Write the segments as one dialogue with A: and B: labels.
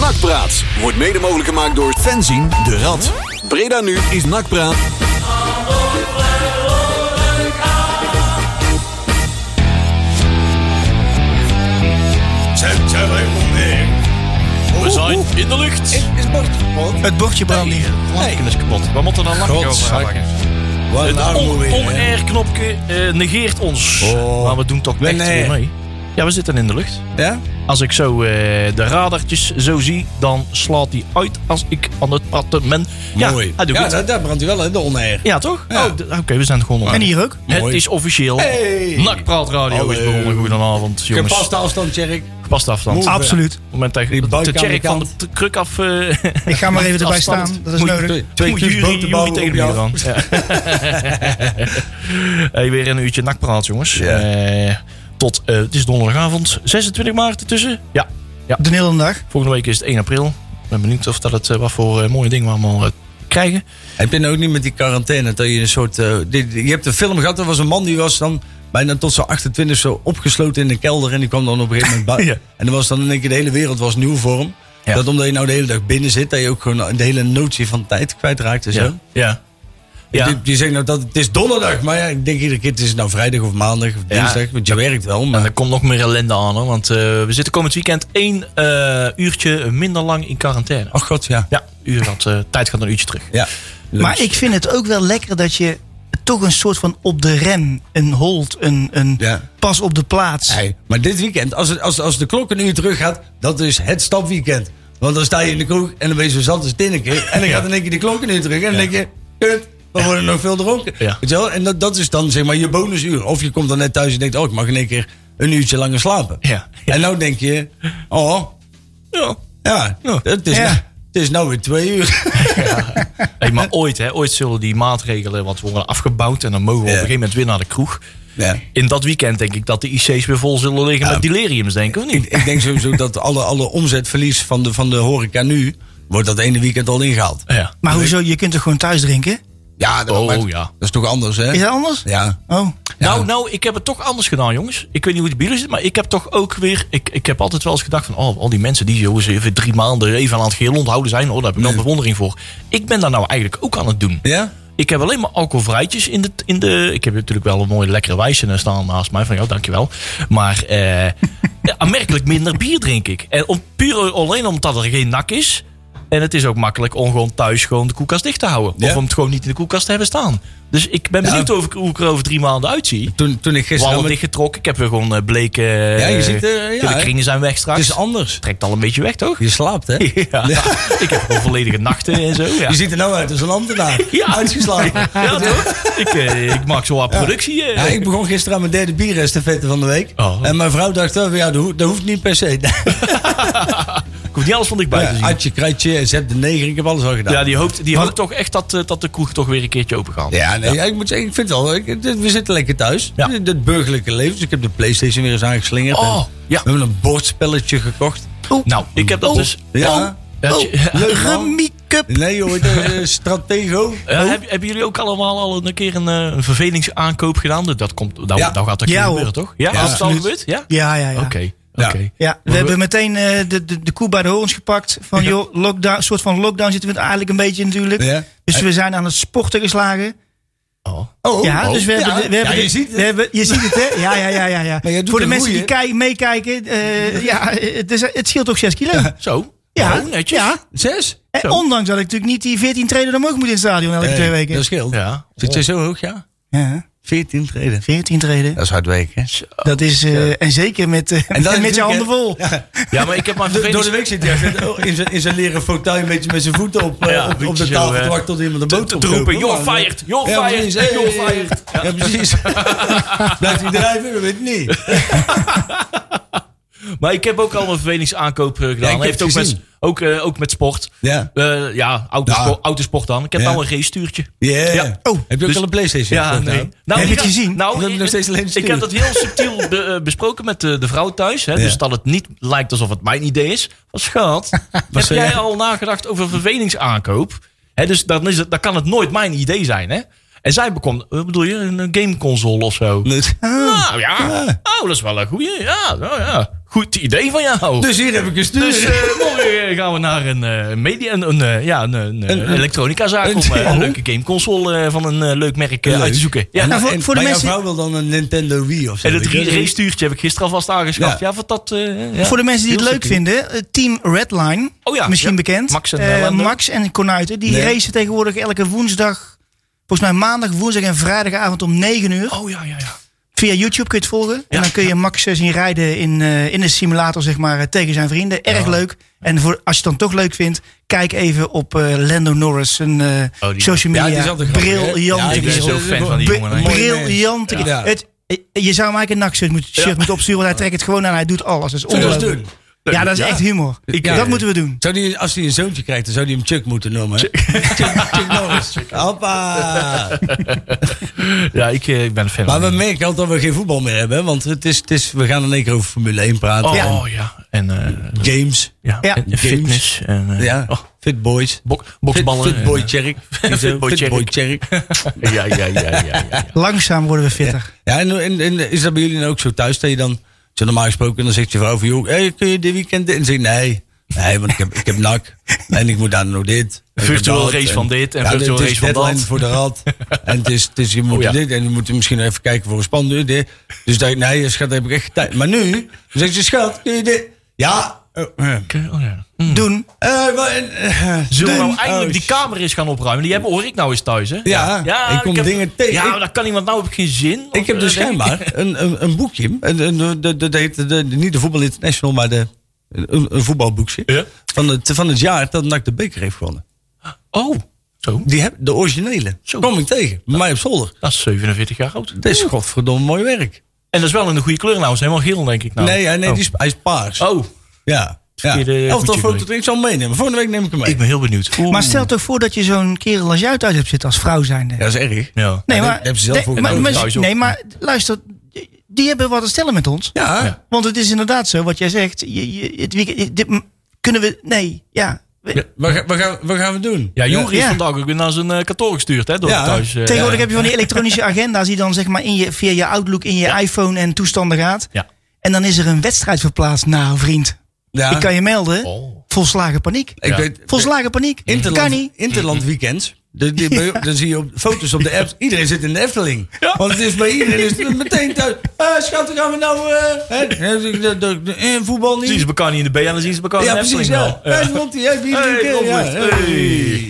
A: Nakpraat wordt mede mogelijk gemaakt door Fenzin de Rad. Breda nu is Nakpraat.
B: We zijn in de lucht.
C: Het bordje brandy.
B: Lampje is kapot. We moeten dan lachen over.
C: Wat
B: Het
C: een
B: on-
C: armoede. hè?
B: on-air knopje eh, negeert ons.
C: Oh.
B: Maar we doen toch
C: Nee,
B: echt
C: nee.
B: weer mee. Ja, we zitten in de lucht.
C: Ja?
B: Als ik zo eh, de radartjes zo zie, dan slaat die uit als ik aan het praten ben. Ja,
C: Mooi.
B: Hij doet
C: ja,
B: het.
C: dat, dat brandt u wel, hè, de on-air.
B: Ja, toch?
C: Ja.
B: Oh, d- Oké, we zijn gewoon on
D: En hier ook.
B: Het
C: Mooi.
B: is officieel.
C: Hey.
B: Nakpraat Radio is
C: Hallo.
B: begonnen. Goedenavond, jongens.
C: Gepaste afstand, zeg ik.
B: Gepaste afstand.
C: Moe.
B: Op
D: Absoluut.
B: het moment dat je
C: Die buik
B: de
C: aan
B: kerk
C: de
B: van
C: kant.
B: de kruk af... eh,
D: Ik ga maar even erbij
B: afstand.
D: staan. Dat is
B: Moet-
D: nodig.
C: Twee
B: Moet
C: keer
B: Jury- Jury
C: boterbouw
B: tegen
C: op je
B: me
C: af.
B: dan. Ja. hey, weer een uurtje nakpraat, jongens.
C: Ja.
B: Eh, tot, eh, het is donderdagavond, 26 maart ertussen. Ja,
D: De hele dag.
B: volgende week is het 1 april. Ik ben benieuwd of dat het, eh, wat voor eh, mooie dingen we allemaal eh, krijgen.
C: Heb je nou ook niet met die quarantaine dat je een soort. eh, die- die- je hebt een film gehad, er was een man die was dan bijna tot zo'n 28 zo opgesloten in de kelder. En die kwam dan op een gegeven moment buiten.
B: Ja.
C: En dan was dan in één keer de hele wereld was nieuw voor hem.
B: Ja.
C: Dat omdat je nou de hele dag binnen zit, dat je ook gewoon de hele notie van tijd kwijtraakt en zo.
B: ja.
C: Die, die zeggen nou dat het is donderdag, maar ja, ik denk iedere keer het is nou vrijdag of maandag of
B: Ja.
C: dinsdag. Want je werkt wel,
B: En
C: maar
B: er komt nog meer ellende aan, hoor, want eh, we zitten komend weekend één eh, uurtje minder lang in quarantaine.
C: ach god, ja.
B: Ja, uur gaat, eh, tijd gaat een uurtje terug.
C: ja.
D: Maar ik vind het ook wel lekker dat je toch een soort van op de rem, een hold, een, een
C: Ja.
D: pas op de plaats.
C: Hey, maar dit weekend, als, het, als, als de klok een uur terug gaat, dat is het stapweekend. Want dan sta je in de kroeg en dan ben je zo zat als tinneke. En dan gaat in één keer die klok een uur terug. En dan denk je, kut, we worden nog veel dronken.
B: Ja.
C: Weet je wel? En dat, dat is dan zeg maar je bonusuur. Of je komt dan net thuis en denkt, oh, ik mag in één keer een uurtje langer slapen.
B: Ja.
C: En nou denk je, oh,
B: Ja.
C: ja, het is,
D: Ja.
C: nou- het is nou weer twee uur.
B: Hey, maar ooit, hè, ooit zullen die maatregelen wat worden afgebouwd. En dan mogen we
C: Ja.
B: op een gegeven moment weer naar de kroeg.
C: Ja.
B: In dat weekend denk ik dat de IC's weer vol zullen liggen met deliriums, denk ik, of
C: Ik,
B: niet?
C: ik denk sowieso dat alle, alle omzetverlies van de, van de horeca nu, wordt dat ene weekend al ingehaald.
B: Ja.
D: Maar hoezo, je kunt toch gewoon thuis drinken?
C: Ja, dat,
B: Oh,
C: maar
B: ja.
C: dat is toch anders, hè?
D: Is dat anders?
C: Ja.
D: Oh,
B: Nou, nou, ik heb het toch anders gedaan, jongens. Ik weet niet hoe het bij jullie zit, maar ik heb toch ook weer... Ik, ik heb altijd wel eens gedacht van... Oh, al die mensen die zo eens even drie maanden even aan het geheel onthouden zijn... hoor, daar heb ik wel bewondering voor. Ik ben daar nou eigenlijk ook aan het doen.
C: Ja?
B: Ik heb alleen maar alcoholvrijtjes in de, in de... Ik heb natuurlijk wel een mooie lekkere wijze staan naast mij. Van jou, dankjewel. Maar eh, ja, aanmerkelijk minder bier drink ik. En om, puur alleen omdat er geen nak is. En het is ook makkelijk om gewoon thuis gewoon de koelkast dicht te houden.
C: Ja.
B: Of om het gewoon niet in de koelkast te hebben staan. Dus ik ben benieuwd over, hoe ik er over drie maanden uitzie.
C: Toen, toen ik gisteren...
B: Wallen
C: met-
B: dichtgetrokken. Ik heb weer gewoon eh, bleke... Ja,
C: je ziet, eh, nou ja,
B: de
C: hè.
B: kringen zijn weg straks.
C: het is anders.
B: Trekt al een beetje weg, toch?
C: Je slaapt, hè?
B: Ja. Ik heb gewoon volledige nachten en zo. Ja.
C: Je ziet er nou uit als een ambtenaar.
B: Ja.
C: Uitgeslapen.
B: Ja, toch? Ik, eh, ik maak zo wat productie. eh.
C: Ja, ik begon gisteren aan mijn derde bierestafette van de week.
B: Oh.
C: En mijn vrouw dacht, oh, ja, dat, ho- dat hoeft niet per se.
B: Ik hoef niet alles van dichtbij te
C: Ja,
B: zien.
C: Atje, kratje, zet de neger, ik heb alles al gedaan.
B: Ja, die hoopt, die hoopt toch echt dat, eh, dat de kroeg toch weer een keertje open gaat.
C: Ja, nee, ja, ik moet zeggen, ik vind het wel. ik- dit- we zitten lekker thuis.
B: Ja.
C: Dit- Dit burgerlijke leven. Dus ik heb de PlayStation weer eens aangeslingerd.
B: Oh,
C: En
B: ja.
C: We hebben een bordspelletje gekocht. Oh,
B: Nou, ik heb dat dus... Oh.
C: Ja.
B: Ja, tje-
C: Leuk, man.
D: Rummy Cup.
C: Nee, joh, dat is, eh, Stratego.
B: eh, heb- hebben jullie ook allemaal al een keer een, eh, een vervelingsaankoop gedaan? Dat, dat komt, dat,
C: Ja.
B: dat gaat dat
D: Ja, hoor.
B: gebeuren, toch? Ja,
C: Ja,
B: Is het al
D: absoluut.
B: gebeurd? Ja?
D: Ja, ja, ja.
B: Oké, oké.
C: Ja.
D: Ja, we hebben meteen eh, de, de, de koe bij de horens gepakt. Van joh, lockdown, soort van lockdown zitten we het eigenlijk een beetje natuurlijk.
C: Ja.
D: Dus we zijn aan het sporten geslagen.
B: Oh.
C: Oh,
D: Ja,
C: oh.
D: dus we hebben...
C: Ja,
D: de- we hebben
C: ja, je
D: de-
C: ziet
D: We
C: het.
D: hebben, je ziet het, hè? Ja, ja, ja, ja. ja.
C: Maar jij doet
D: Voor de
C: een
D: mensen die
C: goeie,
D: kijk, meekijken, eh, ja, het, is, het scheelt ook 6 kilo.
B: Zo.
D: Ja.
B: Oh, netjes.
D: Ja.
C: Zes?
D: En
B: Zo.
D: ondanks dat ik natuurlijk niet die 14 trainer omhoog moet in het stadion elke
C: Nee,
D: twee weken.
C: Dat scheelt.
B: Ja.
C: Zit jij zo hoog, ja?
D: Ja,
C: 14 treden.
D: 14 treden.
C: Dat is hard werken. hè?
D: Dat is, eh, en zeker met, eh,
C: dan
D: met je
C: natuurlijk,
D: handen
C: hè?
D: vol.
B: Ja, maar ik heb mijn
C: Door, door de
B: vervelings...
C: week zit hij echt met- oh, in zijn- in zijn leren fauteuil een beetje met zijn voeten op, eh,
B: Ja,
C: op, op
B: beetje
C: de
B: zo,
C: tafel
B: eh,
C: te wachten tot iemand een
B: te-
C: boot
B: te
C: op
B: roepen, "You're fired, you're
C: ja,
B: fired,
C: precies. Hey,
B: you're
C: hey, hey.
B: fired."
C: Ja, precies. Blijft hij drijven? Dat weet ik niet.
B: Maar ik heb ook al een vervelingsaankoop eh, gedaan.
C: heb
B: Heeft
C: het
B: ook, met,
C: gezien.
B: ook, eh, ook met sport.
C: Ja.
B: Eh, ja, autosport,
C: Ja.
B: autosport dan. Ik heb
C: Ja.
B: nou een race-stuurtje.
C: Yeah.
B: Ja.
C: Oh, heb je ook
B: Dus-
C: al een Playstation?
B: Ja,
C: gekocht,
B: nee.
C: nou?
B: Nou,
D: Heb je het
B: ik-
D: gezien?
C: Ik
B: Nou,
C: heb
B: ik,
C: nog steeds alleen
B: ik heb dat heel subtiel be- eh, besproken met de, de vrouw thuis. Hè,
C: Ja.
B: Dus dat het niet lijkt alsof het mijn idee is. Maar schat, heb
C: zei
B: jij
C: jij?
B: al nagedacht over vervelingsaankoop? Hè, dus dan, is het, dan kan het nooit mijn idee zijn, hè? En zij bekomt, wat bedoel je, een eh, gameconsole of zo.
C: Dus-
B: Nou ja, oh, dat is wel een goeie. Ja, nou ja. Goed idee van jou.
C: Dus hier heb ik een stuur.
B: Dus eh, morgen eh, gaan we naar een eh, media, een, een, eh, ja, een, een, eh, elektronicazaak
C: een-
B: om eh,
C: ja.
B: een leuke gameconsole eh, van een eh, leuk merk eh,
C: Leuk.
B: uit te zoeken. Ja.
D: En
B: En,
D: voor-
C: en
D: voor de
C: maar
D: mensen-
C: jouw vrouw wil dan een Nintendo Wii of zo.
B: het
C: weet je?
B: drie- race-stuurtje heb ik gisteren alvast aangeschaft.
C: Ja.
B: Ja, wat dat... eh, ja.
D: Voor de mensen die het
B: Heel
D: leuk
B: subtiel.
D: vinden, eh, Team Redline,
B: Oh ja,
D: misschien
B: ja.
D: bekend.
B: Max en,
D: Eh,
B: eh, Lando.
D: Max en Konuiten, die
C: Nee.
D: racen tegenwoordig elke woensdag, volgens mij maandag, woensdag en vrijdagavond om 9 uur.
B: Oh ja, ja, ja.
D: Via YouTube kun je het volgen.
B: Ja,
D: En dan kun je Max eh, zien rijden in, eh, in de simulator, zeg maar, eh, tegen zijn vrienden. Erg leuk. En voor, als je het dan toch leuk vindt, kijk even op eh, Lando Norris, zijn eh,
B: Oh, die-
D: social
C: Ja,
D: media.
C: die is altijd grappig, hè?
D: briljante
B: ik ben
D: kerel.
B: zo fan van die
D: Br-
B: jongen, hè.
C: Mooi
D: Briljante
C: mens.
D: kerel.
C: Ja.
D: Het- eh, Je zou hem eigenlijk een nachtshirt moeten, shirt moeten opsturen, want hij trekt het gewoon aan. Hij doet alles. Dat is
C: Zullen we eens
D: ongelooflijk.
C: doen?
D: Ja, dat is echt humor.
C: ja.
D: dat moeten we doen.
C: Zou die, als hij een zoontje krijgt, dan zou hij hem Chuck moeten noemen. hè? Chuck Norris. Hoppa.
B: Ja, ik eh, ik ben een fan
C: Maar
B: van
C: we
B: die.
C: merken altijd dat we geen voetbal meer hebben. hè, Want het is, het is, we gaan in één keer over Formule 1 praten.
B: Oh
C: en
B: ja. En, eh,
C: Games.
B: ja.
D: Ja.
B: en
C: Games.
B: fitness. En, eh,
C: Ja.
B: oh,
C: Fit Boys.
B: bok,
C: Fit,
B: boksballen.
C: fit
B: en,
C: Boy
B: eh,
C: Cherry.
B: Fit Boy
C: Fit Boy Cherry.
B: ja, ja, ja, ja, ja, ja.
D: Langzaam worden we fitter.
C: Ja, en, en, en is dat bij jullie dan ook zo thuis dat je dan, zo normaal gesproken, dan zegt je vrouw van, joh, hey, kun je dit weekend dit? En dan zeg je, nee, nee, want ik heb, ik heb nak en ik moet daar nog dit. En ik
B: Virtual
C: heb dat.
B: race van dit en virtual
C: het is
B: race van
C: deadline
B: dat.
C: voor de rad. En het is, het is je moet
B: Oh, ja.
C: dit en je moet misschien even kijken voor een spandoek. dit. Dus dat je, nee, schat, daar heb ik echt geen tijd. Maar nu, dan zegt ze, schat, kun je dit? Ja. Eh, eh.
B: Oké, oh, ja.
D: Doen.
C: Eh, maar, eh, eh,
B: Zullen we
C: doen.
B: nou eindelijk
C: Oh,
B: die kamer eens gaan opruimen? Die hebben, hoor ik nou eens thuis, hè?
C: Ja, ik kom dingen tegen.
B: Ja,
C: Ik-
B: maar dat kan iemand nou op geen zin.
C: Ik heb
B: eh,
C: dus schijnbaar een, een, een boekje. Een, een, de, de, dat heet de, de- niet de Voetbal International, maar de, een, een voetbalboekje.
B: Ja.
C: Van, het, van het jaar dat NAC de beker heeft gewonnen.
B: Oh, zo.
C: Die heb, de originele.
B: Zo.
C: Kom ik tegen. Bij mij op zolder.
B: Dat is 47 jaar oud.
C: Dat is godverdomme mooi werk.
B: En dat is wel in de goede kleur nou. Het is helemaal geel, denk ik nou.
C: nee, ja, nee
B: oh.
C: die is, hij is paars.
B: Oh,
C: Ja. ja.
B: verkeerde
C: Elftal
B: boekje
C: foto
B: bedoel
C: dat ik zal hem meenemen. Volgende week neem ik hem mee.
B: ik ben heel benieuwd. Oeh.
D: Maar stel toch voor dat je zo'n kerel als jij thuis hebt zitten als vrouw zijnde.
C: Ja, dat is erg.
B: Ja.
D: nee,
C: dat
D: maar,
C: hebben ze zelf
D: nee,
C: ook
D: maar,
B: nodig
D: maar-
B: thuis, hoor.
D: nee, maar luister, die hebben wat te stellen met ons.
C: Ja.
B: Ja.
D: Want het is inderdaad zo, wat jij zegt. Je, je, het weekend, dit m- kunnen we, nee, ja. We-
C: Wat, ga- wat, gaan, wat gaan we doen?
B: Ja, Joeri is
D: Ja.
B: vandaag ook weer naar zijn eh, kantoor gestuurd, hè? Door
C: Ja.
B: thuis. eh,
D: Tegenwoordig
B: ja.
D: heb je van die elektronische agenda's die dan zeg maar in je, via je Outlook in je iPhone en toestanden gaat.
B: Ja.
D: En dan is er een wedstrijd verplaatst. Nou, vriend,
C: Ja.
D: ik kan je melden.
B: Oh.
D: Volslagen paniek.
C: Ik
B: Ja.
C: weet,
D: Volslagen paniek. Kan
C: Interland,
D: niet.
C: Interland weekends. De, die- bij- dan zie je op, foto's op de app. Iedereen zit in de Efteling.
B: Ja.
C: Want het is bij iedereen is het meteen thuis. Eh schat, dan gaan we nou... eh, hè, de- de- de- de- eh, voetbal
B: Zien
C: niet.
B: ze elkaar niet in de B en dan zien nou. ze elkaar
C: Ja,
B: in de
C: precies.
B: Efteling
C: Ja.
B: wel.
C: Hé, Monty, hé, wie
B: Hey,
C: doet dit? Ja,
B: Robert,
C: hey.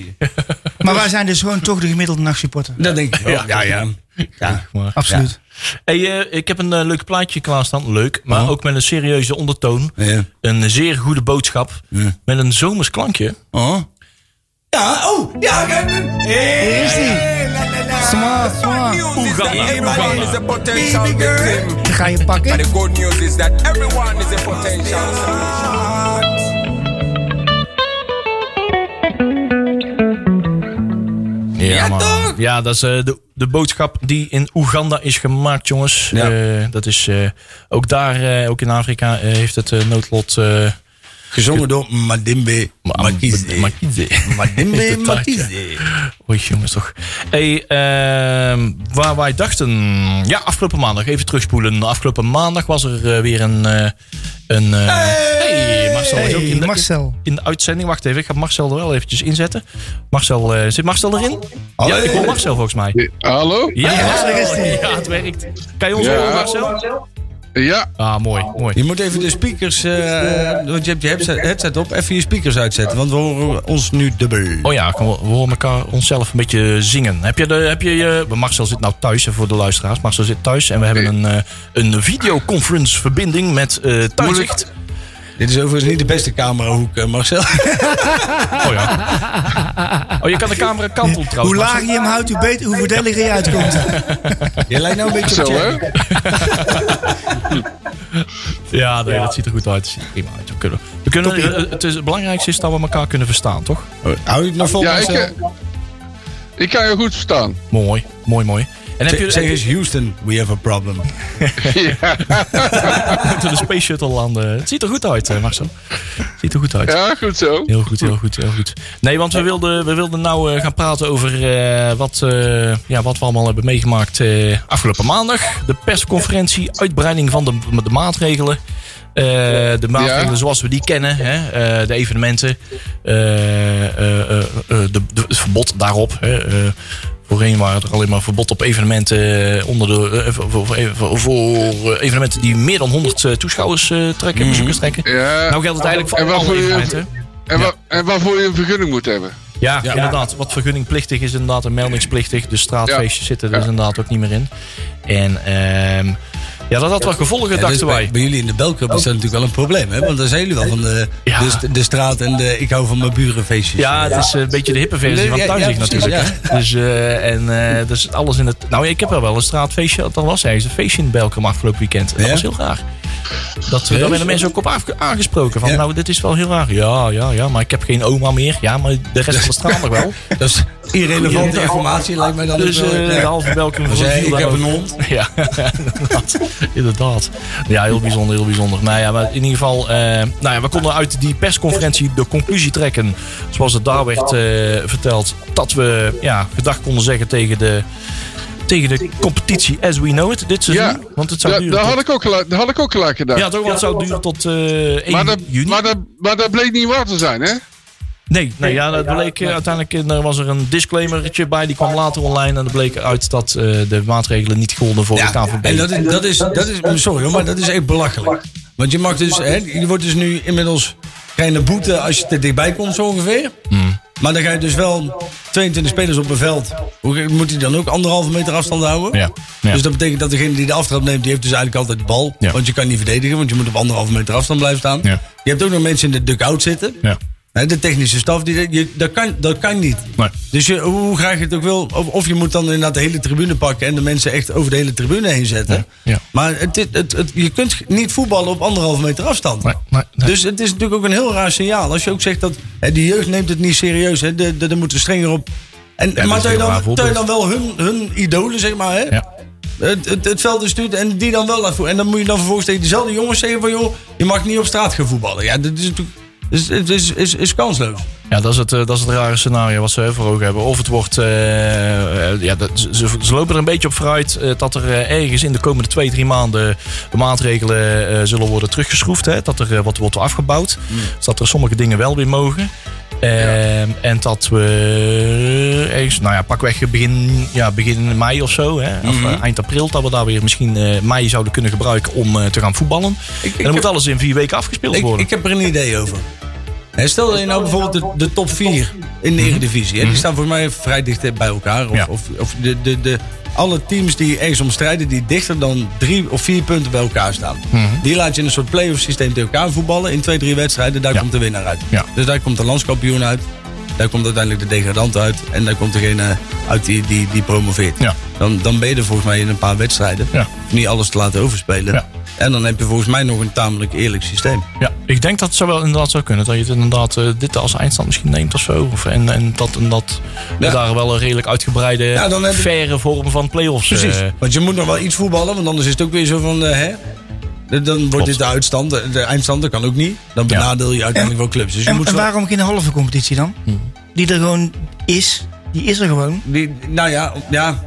D: Maar wij zijn dus gewoon toch de gemiddelde nachtsupporter.
C: Dat denk ik wel. Ja, ja. ja.
B: Maar-
D: Absoluut.
B: Hey, eh, ik heb een eh, leuk plaatje klaarstaan. Leuk, maar
C: Oh.
B: ook met een serieuze ondertoon.
C: Ja.
B: Een zeer goede boodschap.
C: Ja.
B: Met een zomers klankje.
C: Oh. Ja, oh. Ja, kijk. Hey,
D: Is die? Zwaar, zwaar.
B: Oeganda.
E: Everybody is a potential victim.
D: Die Ga je
E: But
D: pakken.
E: the good news is that everyone is a potential solution.
C: Oh.
B: Ja, man.
E: toch?
B: Ja, dat is eh, de, de boodschap die in Oeganda is gemaakt, jongens.
C: Ja.
B: Eh, dat is eh, ook daar, eh, ook in Afrika, eh, heeft het eh, noodlot. eh,
C: Gezongen door Madimbe Makize.
B: Makize.
C: Madimbe
B: Inderdaad,
C: Makize.
B: Oei, jongens toch. Hey, ehm, waar wij dachten... Ja, afgelopen maandag. Even terugspoelen. Afgelopen maandag was er eh, weer een... eh, een eh, hey, Marcel is ook in
D: Hey,
B: de,
D: Marcel.
B: in de uitzending. Wacht even, ik ga Marcel er wel eventjes inzetten. Marcel, eh, zit Marcel erin? Ja, ik hoor Marcel volgens mij.
F: Hallo?
B: Ja,
D: daar is hij.
B: ja, het werkt. Kan je ons
F: Ja.
B: horen, Marcel?
F: Ja,
B: Ah, mooi, mooi.
C: Je moet even de speakers, eh, want je hebt je headset- headset op, even je speakers uitzetten, want we horen ons nu dubbel.
B: Oh ja, we we horen elkaar onszelf een beetje zingen. Heb je, de, heb je je... maar Marcel zit nou thuis, hè, voor de luisteraars. Marcel zit thuis en we hebben een, eh, een videoconference verbinding met eh Tuinzicht.
C: Dit is overigens niet de beste camerahoek, eh, Marcel.
B: Oh ja. Oh, je kan de camera kantelen
D: Hoe
B: trouwens.
D: lager je hem houdt, hoe beter, hoe voordeliger je uitkomt.
C: Je lijkt nou een beetje op
F: zo hè?
C: Jerry.
B: Marcel. Ja, nee, dat ziet er goed uit. Dat ziet er prima uit. We kunnen, we kunnen, eh, het, is, het belangrijkste is dat we elkaar kunnen verstaan, toch?
C: Oh, Hou je het nog vol,
F: Ja, ik,
C: Marcel?
F: eh, ik kan je goed verstaan.
B: Mooi, mooi, mooi. En heb
C: Zeg-
B: je,
C: Zeg eens Houston, we have a problem.
F: ja.
B: de Space Shuttle landen? Het ziet er goed uit, eh, Marcel. Het ziet er goed uit.
F: ja, goed zo.
B: Heel goed, heel goed, heel goed. Nee, want we wilden, we wilden nou eh, gaan praten over eh, wat, eh, ja, wat we allemaal hebben meegemaakt eh, afgelopen maandag. De persconferentie, uitbreiding van de, de maatregelen. Eh, Eh, de maatregelen
F: Ja.
B: zoals we die kennen, hè, eh, de evenementen, eh, eh, eh, eh, de, de- het verbod daarop. Hè, eh. voorheen waren er alleen maar verbod op evenementen eh, onder de, eh, voor, voor- voor- voor, eh, evenementen die meer dan 100 eh, toeschouwers eh, trekken, bezoekers trekken.
F: Mhm. Ja.
B: Nou geldt het eigenlijk
F: En
B: voor
F: waarvoor
B: alle
F: je-
B: evenementen.
F: en, wa- en waarvoor je een vergunning moet hebben.
B: Ja, inderdaad. Wat vergunningplichtig is inderdaad en meldingsplichtig. Dus straatfeestjes zitten er dus
F: Ja.
B: inderdaad ook niet meer in. En ehm, ja, dat had wel gevolgen,
C: Ja, dus
B: dachten
C: bij,
B: wij.
C: bij jullie in de Belclub is dat natuurlijk wel een probleem, hè? Want daar zijn jullie wel van de,
B: Oh. Ja.
C: dus de, de straat en de ik hou van mijn buren feestjes.
B: Ja, het is eh, een beetje de hippe versie
C: Nee,
B: van
C: ja, ja,
B: Tuinzicht
C: precies,
B: natuurlijk. hè. Dus, eh, en, eh, dus alles in het... Nou, ik heb wel wel een straatfeestje. Dat was ergens een feestje in Belkum afgelopen weekend. Dat
C: Ja?
B: was heel raar. Dat, daar werden mensen ook op aange- aangesproken. Van,
C: Ja.
B: nou, dit is wel heel raar. Ja, ja, ja, maar ik heb geen oma meer. Ja, maar de rest van de straat nog wel.
C: Dat is irrelevante informatie, lijkt mij dan
B: Dus
C: ook wel.
B: eh,
C: Ja.
B: de halve Belkum
C: Als
B: van
C: jij,
B: viel
C: ik
B: daar
C: heb
B: ook.
C: een hond.
B: Ja, inderdaad. inderdaad. Ja, heel bijzonder, heel bijzonder. Nou ja, maar in ieder geval, eh, nou ja, we konden uit die persconferentie de conclusie trekken, zoals het daar werd eh, verteld, dat we ja, gedag konden zeggen tegen de, tegen de competitie as we know it dit seizoen.
F: Ja,
B: want het zou
F: Ja,
B: duren.
F: daar
B: tot-
F: had ik ook gelijk, daar had ik ook gelijk gedaan.
B: ja, toch wel, het zou duren tot eh 1
F: maar, dat,
B: juni.
F: maar, dat, maar dat bleek niet waar te zijn, hè?
B: Nee, nee, ja, dat bleek eh, uiteindelijk eh, er was er een disclaimertje bij. Die kwam later online en er bleek uit dat eh, de maatregelen niet golden voor de
C: Ja,
B: KVB.
C: en dat is, dat is, dat is sorry hoor, maar dat is echt belachelijk. Want je mag dus, hè, je wordt dus nu inmiddels, krijg je een boete als je te dichtbij komt zo ongeveer.
B: Hmm.
C: Maar dan ga je dus wel 22 spelers op een veld. Hoe moet hij dan ook anderhalve meter afstand houden?
B: Ja, ja.
C: Dus dat betekent dat degene die de aftrap neemt, die heeft dus eigenlijk altijd de bal.
B: Ja.
C: Want je kan niet verdedigen, want je moet op anderhalve meter afstand blijven staan.
B: Ja.
C: Je hebt ook nog mensen in de dugout zitten.
B: Ja.
C: Hè, de technische staf, die, je, dat, kan, dat kan niet.
B: Nee.
C: Dus je, hoe hoe graag je het ook wil, of, of je moet dan inderdaad de hele tribune pakken en de mensen echt over de hele tribune heen zetten.
B: Ja, ja.
C: Maar het, is- het, het- je kunt niet voetballen op anderhalve meter afstand.
B: Nee, nee, nee.
C: Dus het is natuurlijk ook een heel raar signaal. Als je ook zegt dat hè, die jeugd neemt het niet serieus, hè, de- de- daar moeten we strenger op. En,
B: is
C: maar
B: een
C: dat je,
B: heel raar
C: dan, dat je
B: voorbeeld.
C: dan wel hun, hun idolen, zeg maar, hè,
B: Ja.
C: het, het, het veld instuurt en die dan wel laat voetballen. En dan moet je dan vervolgens tegen diezelfde jongens zeggen van... joh, je mag niet op straat gaan voetballen. Ja, dat is natuurlijk... Is, is, is, is, is kansloos.
B: Ja, dat is, het, eh, dat is het rare scenario wat ze voor ogen hebben. Of het wordt. eh, eh, ja, dat, ze- ze, ze lopen er een beetje op vooruit eh, dat er eh, ergens in de komende twee, drie maanden de maatregelen eh, zullen worden teruggeschroefd. Hè? Dat er eh, wat wordt afgebouwd.
C: Mm.
B: Dus dat er sommige dingen wel weer mogen. Ehm, En dat we ergens, nou ja, pakweg begin, ja, begin mei of zo, hè? of
C: Mm-hmm.
B: eh, eind april, dat we daar weer misschien eh, mei zouden kunnen gebruiken om eh, te gaan voetballen. en dan
C: ik
B: moet alles in vier weken afgespeeld
C: Ik,
B: worden.
C: ik heb er een idee over. Hè, stel dat je nou bijvoorbeeld de, de top 4 in de Eredivisie... Hè, die staan volgens mij vrij dicht bij elkaar. Of,
B: Mhm. Ja.
C: of, of de, de, de, alle teams die ergens om strijden... die dichter dan drie of vier punten bij elkaar staan.
B: Mhm.
C: Die laat je in een soort play-off systeem tegen elkaar voetballen... in twee, drie wedstrijden, daar
B: Ja.
C: komt de winnaar uit.
B: Ja.
C: Dus daar komt de landskampioen uit. Daar komt uiteindelijk de degradant uit. En daar komt degene uit die, die, die promoveert.
B: Ja.
C: Dan, dan ben je er volgens mij in een paar wedstrijden.
B: Ja.
C: Niet alles te laten overspelen.
B: Ja.
C: En dan heb je volgens mij nog een tamelijk eerlijk systeem.
B: Ja, ik denk dat het zou wel inderdaad zou kunnen. Dat je het inderdaad eh, dit als eindstand misschien neemt of zo. Of, en, en dat en dat we
C: Ja.
B: daar wel een redelijk uitgebreide,
C: Ja, dan heb ik-
B: faire vorm van play-offs. eh,
C: Precies. Want je moet nog wel iets voetballen, want anders is het ook weer zo van. eh, hè? Dan wordt dit de uitstand. De eindstand dat kan ook niet. Dan
B: Ja.
C: benadeel je uiteindelijk wel clubs. Dus je
D: En,
C: moet
D: en
C: zo.
D: waarom geen halve competitie dan? Die er gewoon is. Die is er gewoon.
C: Die, nou ja, ja,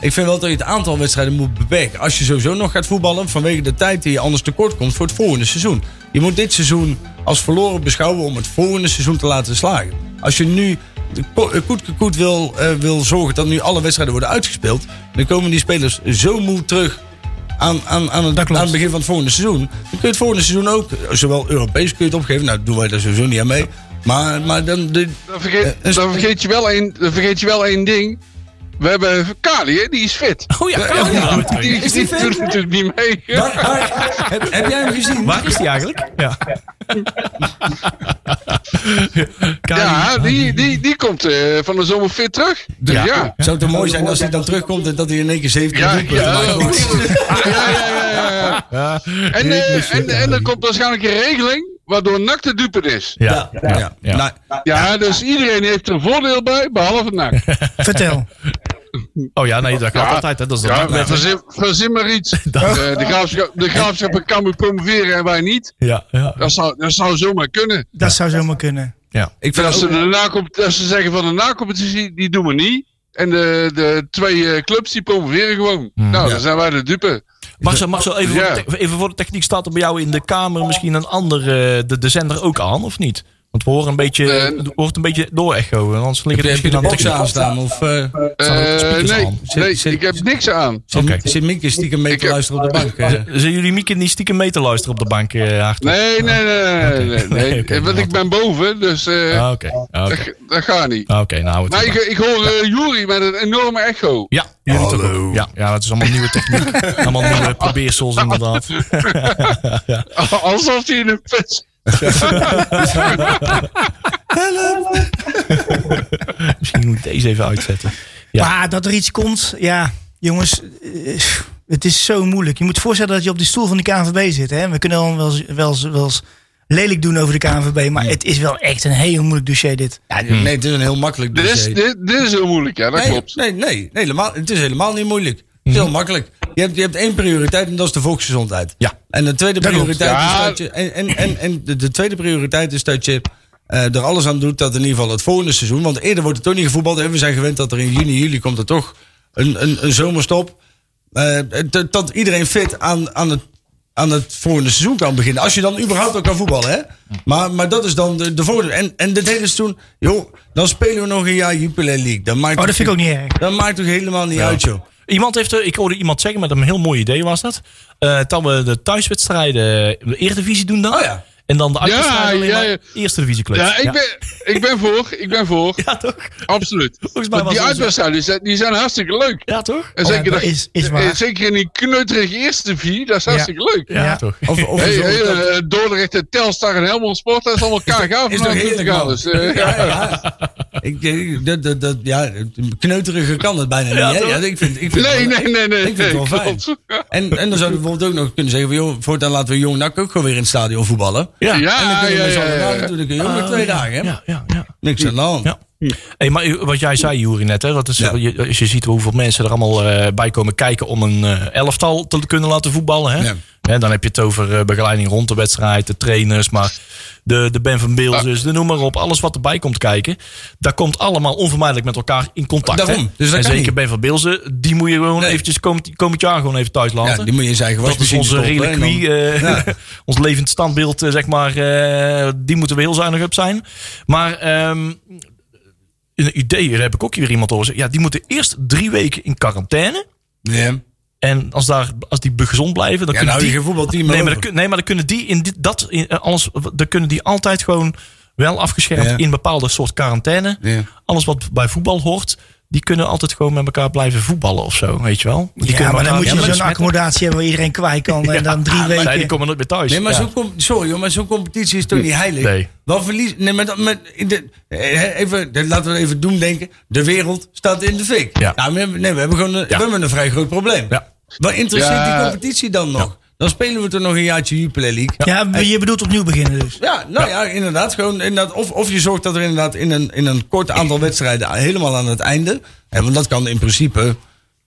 C: ik vind wel dat je het aantal wedstrijden moet beperken. Als je sowieso nog gaat voetballen, vanwege de tijd die je anders tekort komt voor het volgende seizoen. Je moet dit seizoen als verloren beschouwen om het volgende seizoen te laten slagen. Als je nu de ko- eh, koet koet wil, eh, wil zorgen dat nu alle wedstrijden worden uitgespeeld, dan komen die spelers zo moe terug. Aan, aan, aan, het, aan het begin van het volgende seizoen. Dan kun je het volgende seizoen ook, eh, zowel Europees kun je het opgeven. Nou, doen wij daar sowieso niet aan mee. Maar, maar dan. De,
F: Dan vergeet,
C: Eh, een-
F: dan vergeet, je, wel één, dan vergeet je wel één ding. We hebben Kali, hè? die is fit.
B: Oh ja, kan
C: ja.
B: nou terug?
F: Die, die doet het natuurlijk niet mee.
C: Waar- waar- heb, heb jij hem gezien?
B: Waar is die eigenlijk? Ja.
F: Ja, die, die, die komt eh, van de zomer fit terug. Dus
B: Ja.
F: ja. Ja,
C: Zou het toch mooi zijn als hij dan terugkomt en dat hij in één keer 17
F: ja, ja,
C: doelpunten maakt?
F: ja, ja, ja, ja. En, eh, en, en er komt waarschijnlijk een regeling waardoor NAC de dupe is.
B: Ja.
C: Ja, ja.
B: Ja.
C: Nou,
F: Ja, dus iedereen heeft er voordeel bij, behalve NAC.
D: Vertel.
B: Oh ja, nee, dat gaat
F: Ja.
B: altijd. Hè. Dat is de
F: Ja,
B: ja,
F: verzin, verzin maar iets. Eh, de graafschap, de graafschap kan we promoveren en wij niet.
B: ja, ja,
F: Dat zou, dat zou zomaar kunnen.
D: Dat zou zomaar kunnen.
B: ja.
C: ik
F: Dat
C: vind
F: ze,
C: ook,
F: de nakom- dat ze zeggen van de na-competitie, die
B: Hmm.
F: doen we niet. En de, de twee eh, clubs die promoveren gewoon. Nou, dan zijn wij de dupe.
B: Marcel, Marcel even,
F: Ja.
B: voor de te- even voor de techniek. Staat er bij jou in de kamer misschien een andere, de, de zender ook aan, of niet? Want we horen een beetje,
F: Eh,
B: het hoort een beetje door echo. Anders liggen
C: Heb je,
B: er
C: heb je
B: misschien
C: de
B: aan de
C: box aanstaan?
B: techniek.
C: Of eh
B: Staan er
F: Eh,
B: speakers
F: nee,
B: aan?
C: Zit-
F: nee
C: zit-
F: ik heb niks aan.
C: zit,
B: Oké.
C: zit Mieke stiekem mee
F: Ik
C: te
F: heb-
C: luisteren op de bank? eh?
B: Zijn jullie Mieke niet stiekem mee te luisteren op de bank, eh Aarten?
F: Nee, nee, nee, nee. nee, nee.
B: Nee, oké,
F: Want ik ben boven, dus eh,
B: Ah, Oké, Ah, oké.
F: dat, dat gaat niet.
B: Ah, Oké, nou... het
F: Maar ik, ik hoor eh Jury met een enorme echo.
B: Ja, jullie toch ook. Ja, ja, dat is allemaal nieuwe techniek. allemaal nieuwe probeersels inderdaad.
F: Alsof hij in een put.
B: Misschien moet ik deze even uitzetten. Ja.
D: Maar dat er iets komt, ja, jongens, eh, het is zo moeilijk. Je moet voorstellen dat je op die stoel van de KNVB zit. Hè? We kunnen dan wel eens, wel, eens, wel eens lelijk doen over de KNVB, maar het is wel echt een heel moeilijk dossier dit.
C: Ja, nee, het is een heel makkelijk
F: Dit is,
C: dossier.
F: dit, dit is heel moeilijk, ja, dat
C: nee,
F: klopt.
C: Nee, nee, nee, helemaal, het is helemaal niet moeilijk. Het is heel makkelijk. Je hebt, je hebt één prioriteit en dat is de volksgezondheid.
B: Ja.
C: En de tweede
B: Dat klopt.
C: prioriteit
F: Ja.
C: is dat je. Eh, En, en, en, en de, de tweede prioriteit is dat je eh, er alles aan doet dat in ieder geval het volgende seizoen. Want eerder wordt het toch niet gevoetbald. En we zijn gewend dat er in juni, juli komt er toch een, een, een zomerstop. Eh, dat- dat iedereen fit aan, aan het aan het volgende seizoen kan beginnen. Als je dan überhaupt ook kan voetballen, hè? Maar, maar dat is dan de, de voordeel. En, en dit hele seizoen, joh, dan spelen we nog een jaar Jupiler League. Dat maakt
D: Oh,
C: toch-
D: dat vind ik ook niet erg.
C: dat maakt toch helemaal niet uit, joh.
B: Iemand heeft, er- ik hoorde iemand zeggen, met een heel mooi idee was dat. eh, dat we de thuiswedstrijden de Eredivisie doen dan.
C: Oh ja.
B: En dan de uitwedstrijden
F: ja,
B: ja,
F: ja.
B: Eerste divisieclubs.
F: Ja, ik ben, ik ben voor, ik ben voor.
B: Ja, toch?
F: Absoluut.
B: mij
F: Want
B: was
F: die
B: het zo.
F: uitwedstrijden die zijn- die zijn hartstikke leuk.
B: Ja, toch?
F: En
D: Oh,
F: zeker,
D: ja,
F: dat,
D: dat is- is waar.
F: eh, zeker in die kneuterige eerste vier, dat is hartstikke leuk.
B: Ja,
D: Ja.
B: toch?
C: Of, of
F: Hey,
C: zo-
F: hey,
C: dat-
F: eh, Dordrecht, eh, Telstar en Helmond Sport, dat is allemaal KGA
C: is toch
F: vanavond
C: heerlijk, man.
F: Dus, eh, ja.
C: ja, ja. Ik, ik- dat, dat, dat, ja, kneuteriger kan het bijna niet. hè?
B: toch?
C: Ja, ik vind, ik vind
F: Nee,
C: het wel-
F: nee, nee, nee.
C: Ik vind het wel
F: nee,
C: fijn.
F: klopt.
C: En, en dan zouden we bijvoorbeeld ook nog kunnen zeggen... Van, joh, voortaan laten we Jong NAC ook gewoon weer in het stadion voetballen.
B: Ja.
C: en dan
F: Ja,
C: kunnen
F: ja,
C: we met z'n
F: ja,
C: allen
F: ja,
C: daar
F: ja.
C: natuurlijk joh, maar twee dagen. Hè?
B: Ah, Ja, ja, ja.
C: Niks aan de hand.
B: Ja. Hey, maar u- wat jij zei, Juri, net, hè, dat is,
C: Ja.
B: je, als je ziet hoeveel mensen er allemaal eh, bij komen kijken om een eh, elftal te kunnen laten voetballen. Hè?
C: Ja.
B: Hè, dan heb je het over eh, begeleiding rond de wedstrijd, de trainers, maar de, de Ben van Beels, dus de noem maar op, alles wat erbij komt kijken, dat komt allemaal onvermijdelijk met elkaar in contact.
C: Daarom,
B: hè?
C: dus dat
B: en
C: kan
B: zeker
C: niet.
B: Ben van Beelzen, die moet je gewoon
C: Nee.
B: eventjes komend, komend jaar gewoon even thuis laten.
C: Ja, die moet je in zijn eigen
B: dat is
C: wasmachine
B: onze
C: stoppen, hè, en dan-
B: reliquie, eh, ons levend standbeeld, eh, zeg maar. eh, die moeten we heel zuinig op zijn. Maar ehm, een idee, daar heb ik ook hier iemand over. Ja, die moeten eerst drie weken in quarantaine.
C: Ja.
B: En als, daar, als die gezond blijven, dan
C: Ja,
B: eh, kunnen
C: nou,
B: die...
C: je voetbalteam
B: nee, maar
C: over.
B: dan, kun- nee, maar dan kunnen die in dit, dat, in, eh, alles, dan kunnen die altijd gewoon wel afgeschermd
C: Ja.
B: in bepaalde soort quarantaine.
C: Ja.
B: Alles wat bij voetbal hoort, die kunnen altijd gewoon met elkaar blijven voetballen of zo, weet je wel. Die
D: ja,
B: kunnen
D: maar dan
B: elkaar
D: moet
C: dus
B: niet
D: je zo'n
B: besmetten.
D: accommodatie hebben waar iedereen kwijt kan en dan drie
B: Ja, maar Nee, die
D: weken.
B: komen nooit meer thuis.
C: Nee, maar
B: Ja. Hm,
C: zo'n com- sorry hoor, maar zo'n competitie is toch niet heilig?
B: Nee.
C: Wat verlies... Nee, maar dat, met, in de, eh, even, dat laten we even doen denken. De wereld staat in de fik.
B: Ja.
C: Nou, we hebben, nee, we hebben gewoon een, we hebben een vrij groot probleem.
B: Ja.
C: Wat interesseert
F: Ja.
C: die competitie dan nog? Dan spelen we toch nog een jaartje Jupiler League.
D: Ja, je bedoelt opnieuw beginnen dus.
C: Ja, nou ja, inderdaad. Gewoon inderdaad of, of je zorgt dat er inderdaad in een, in een kort aantal wedstrijden helemaal aan het einde. Hè, want dat kan in principe.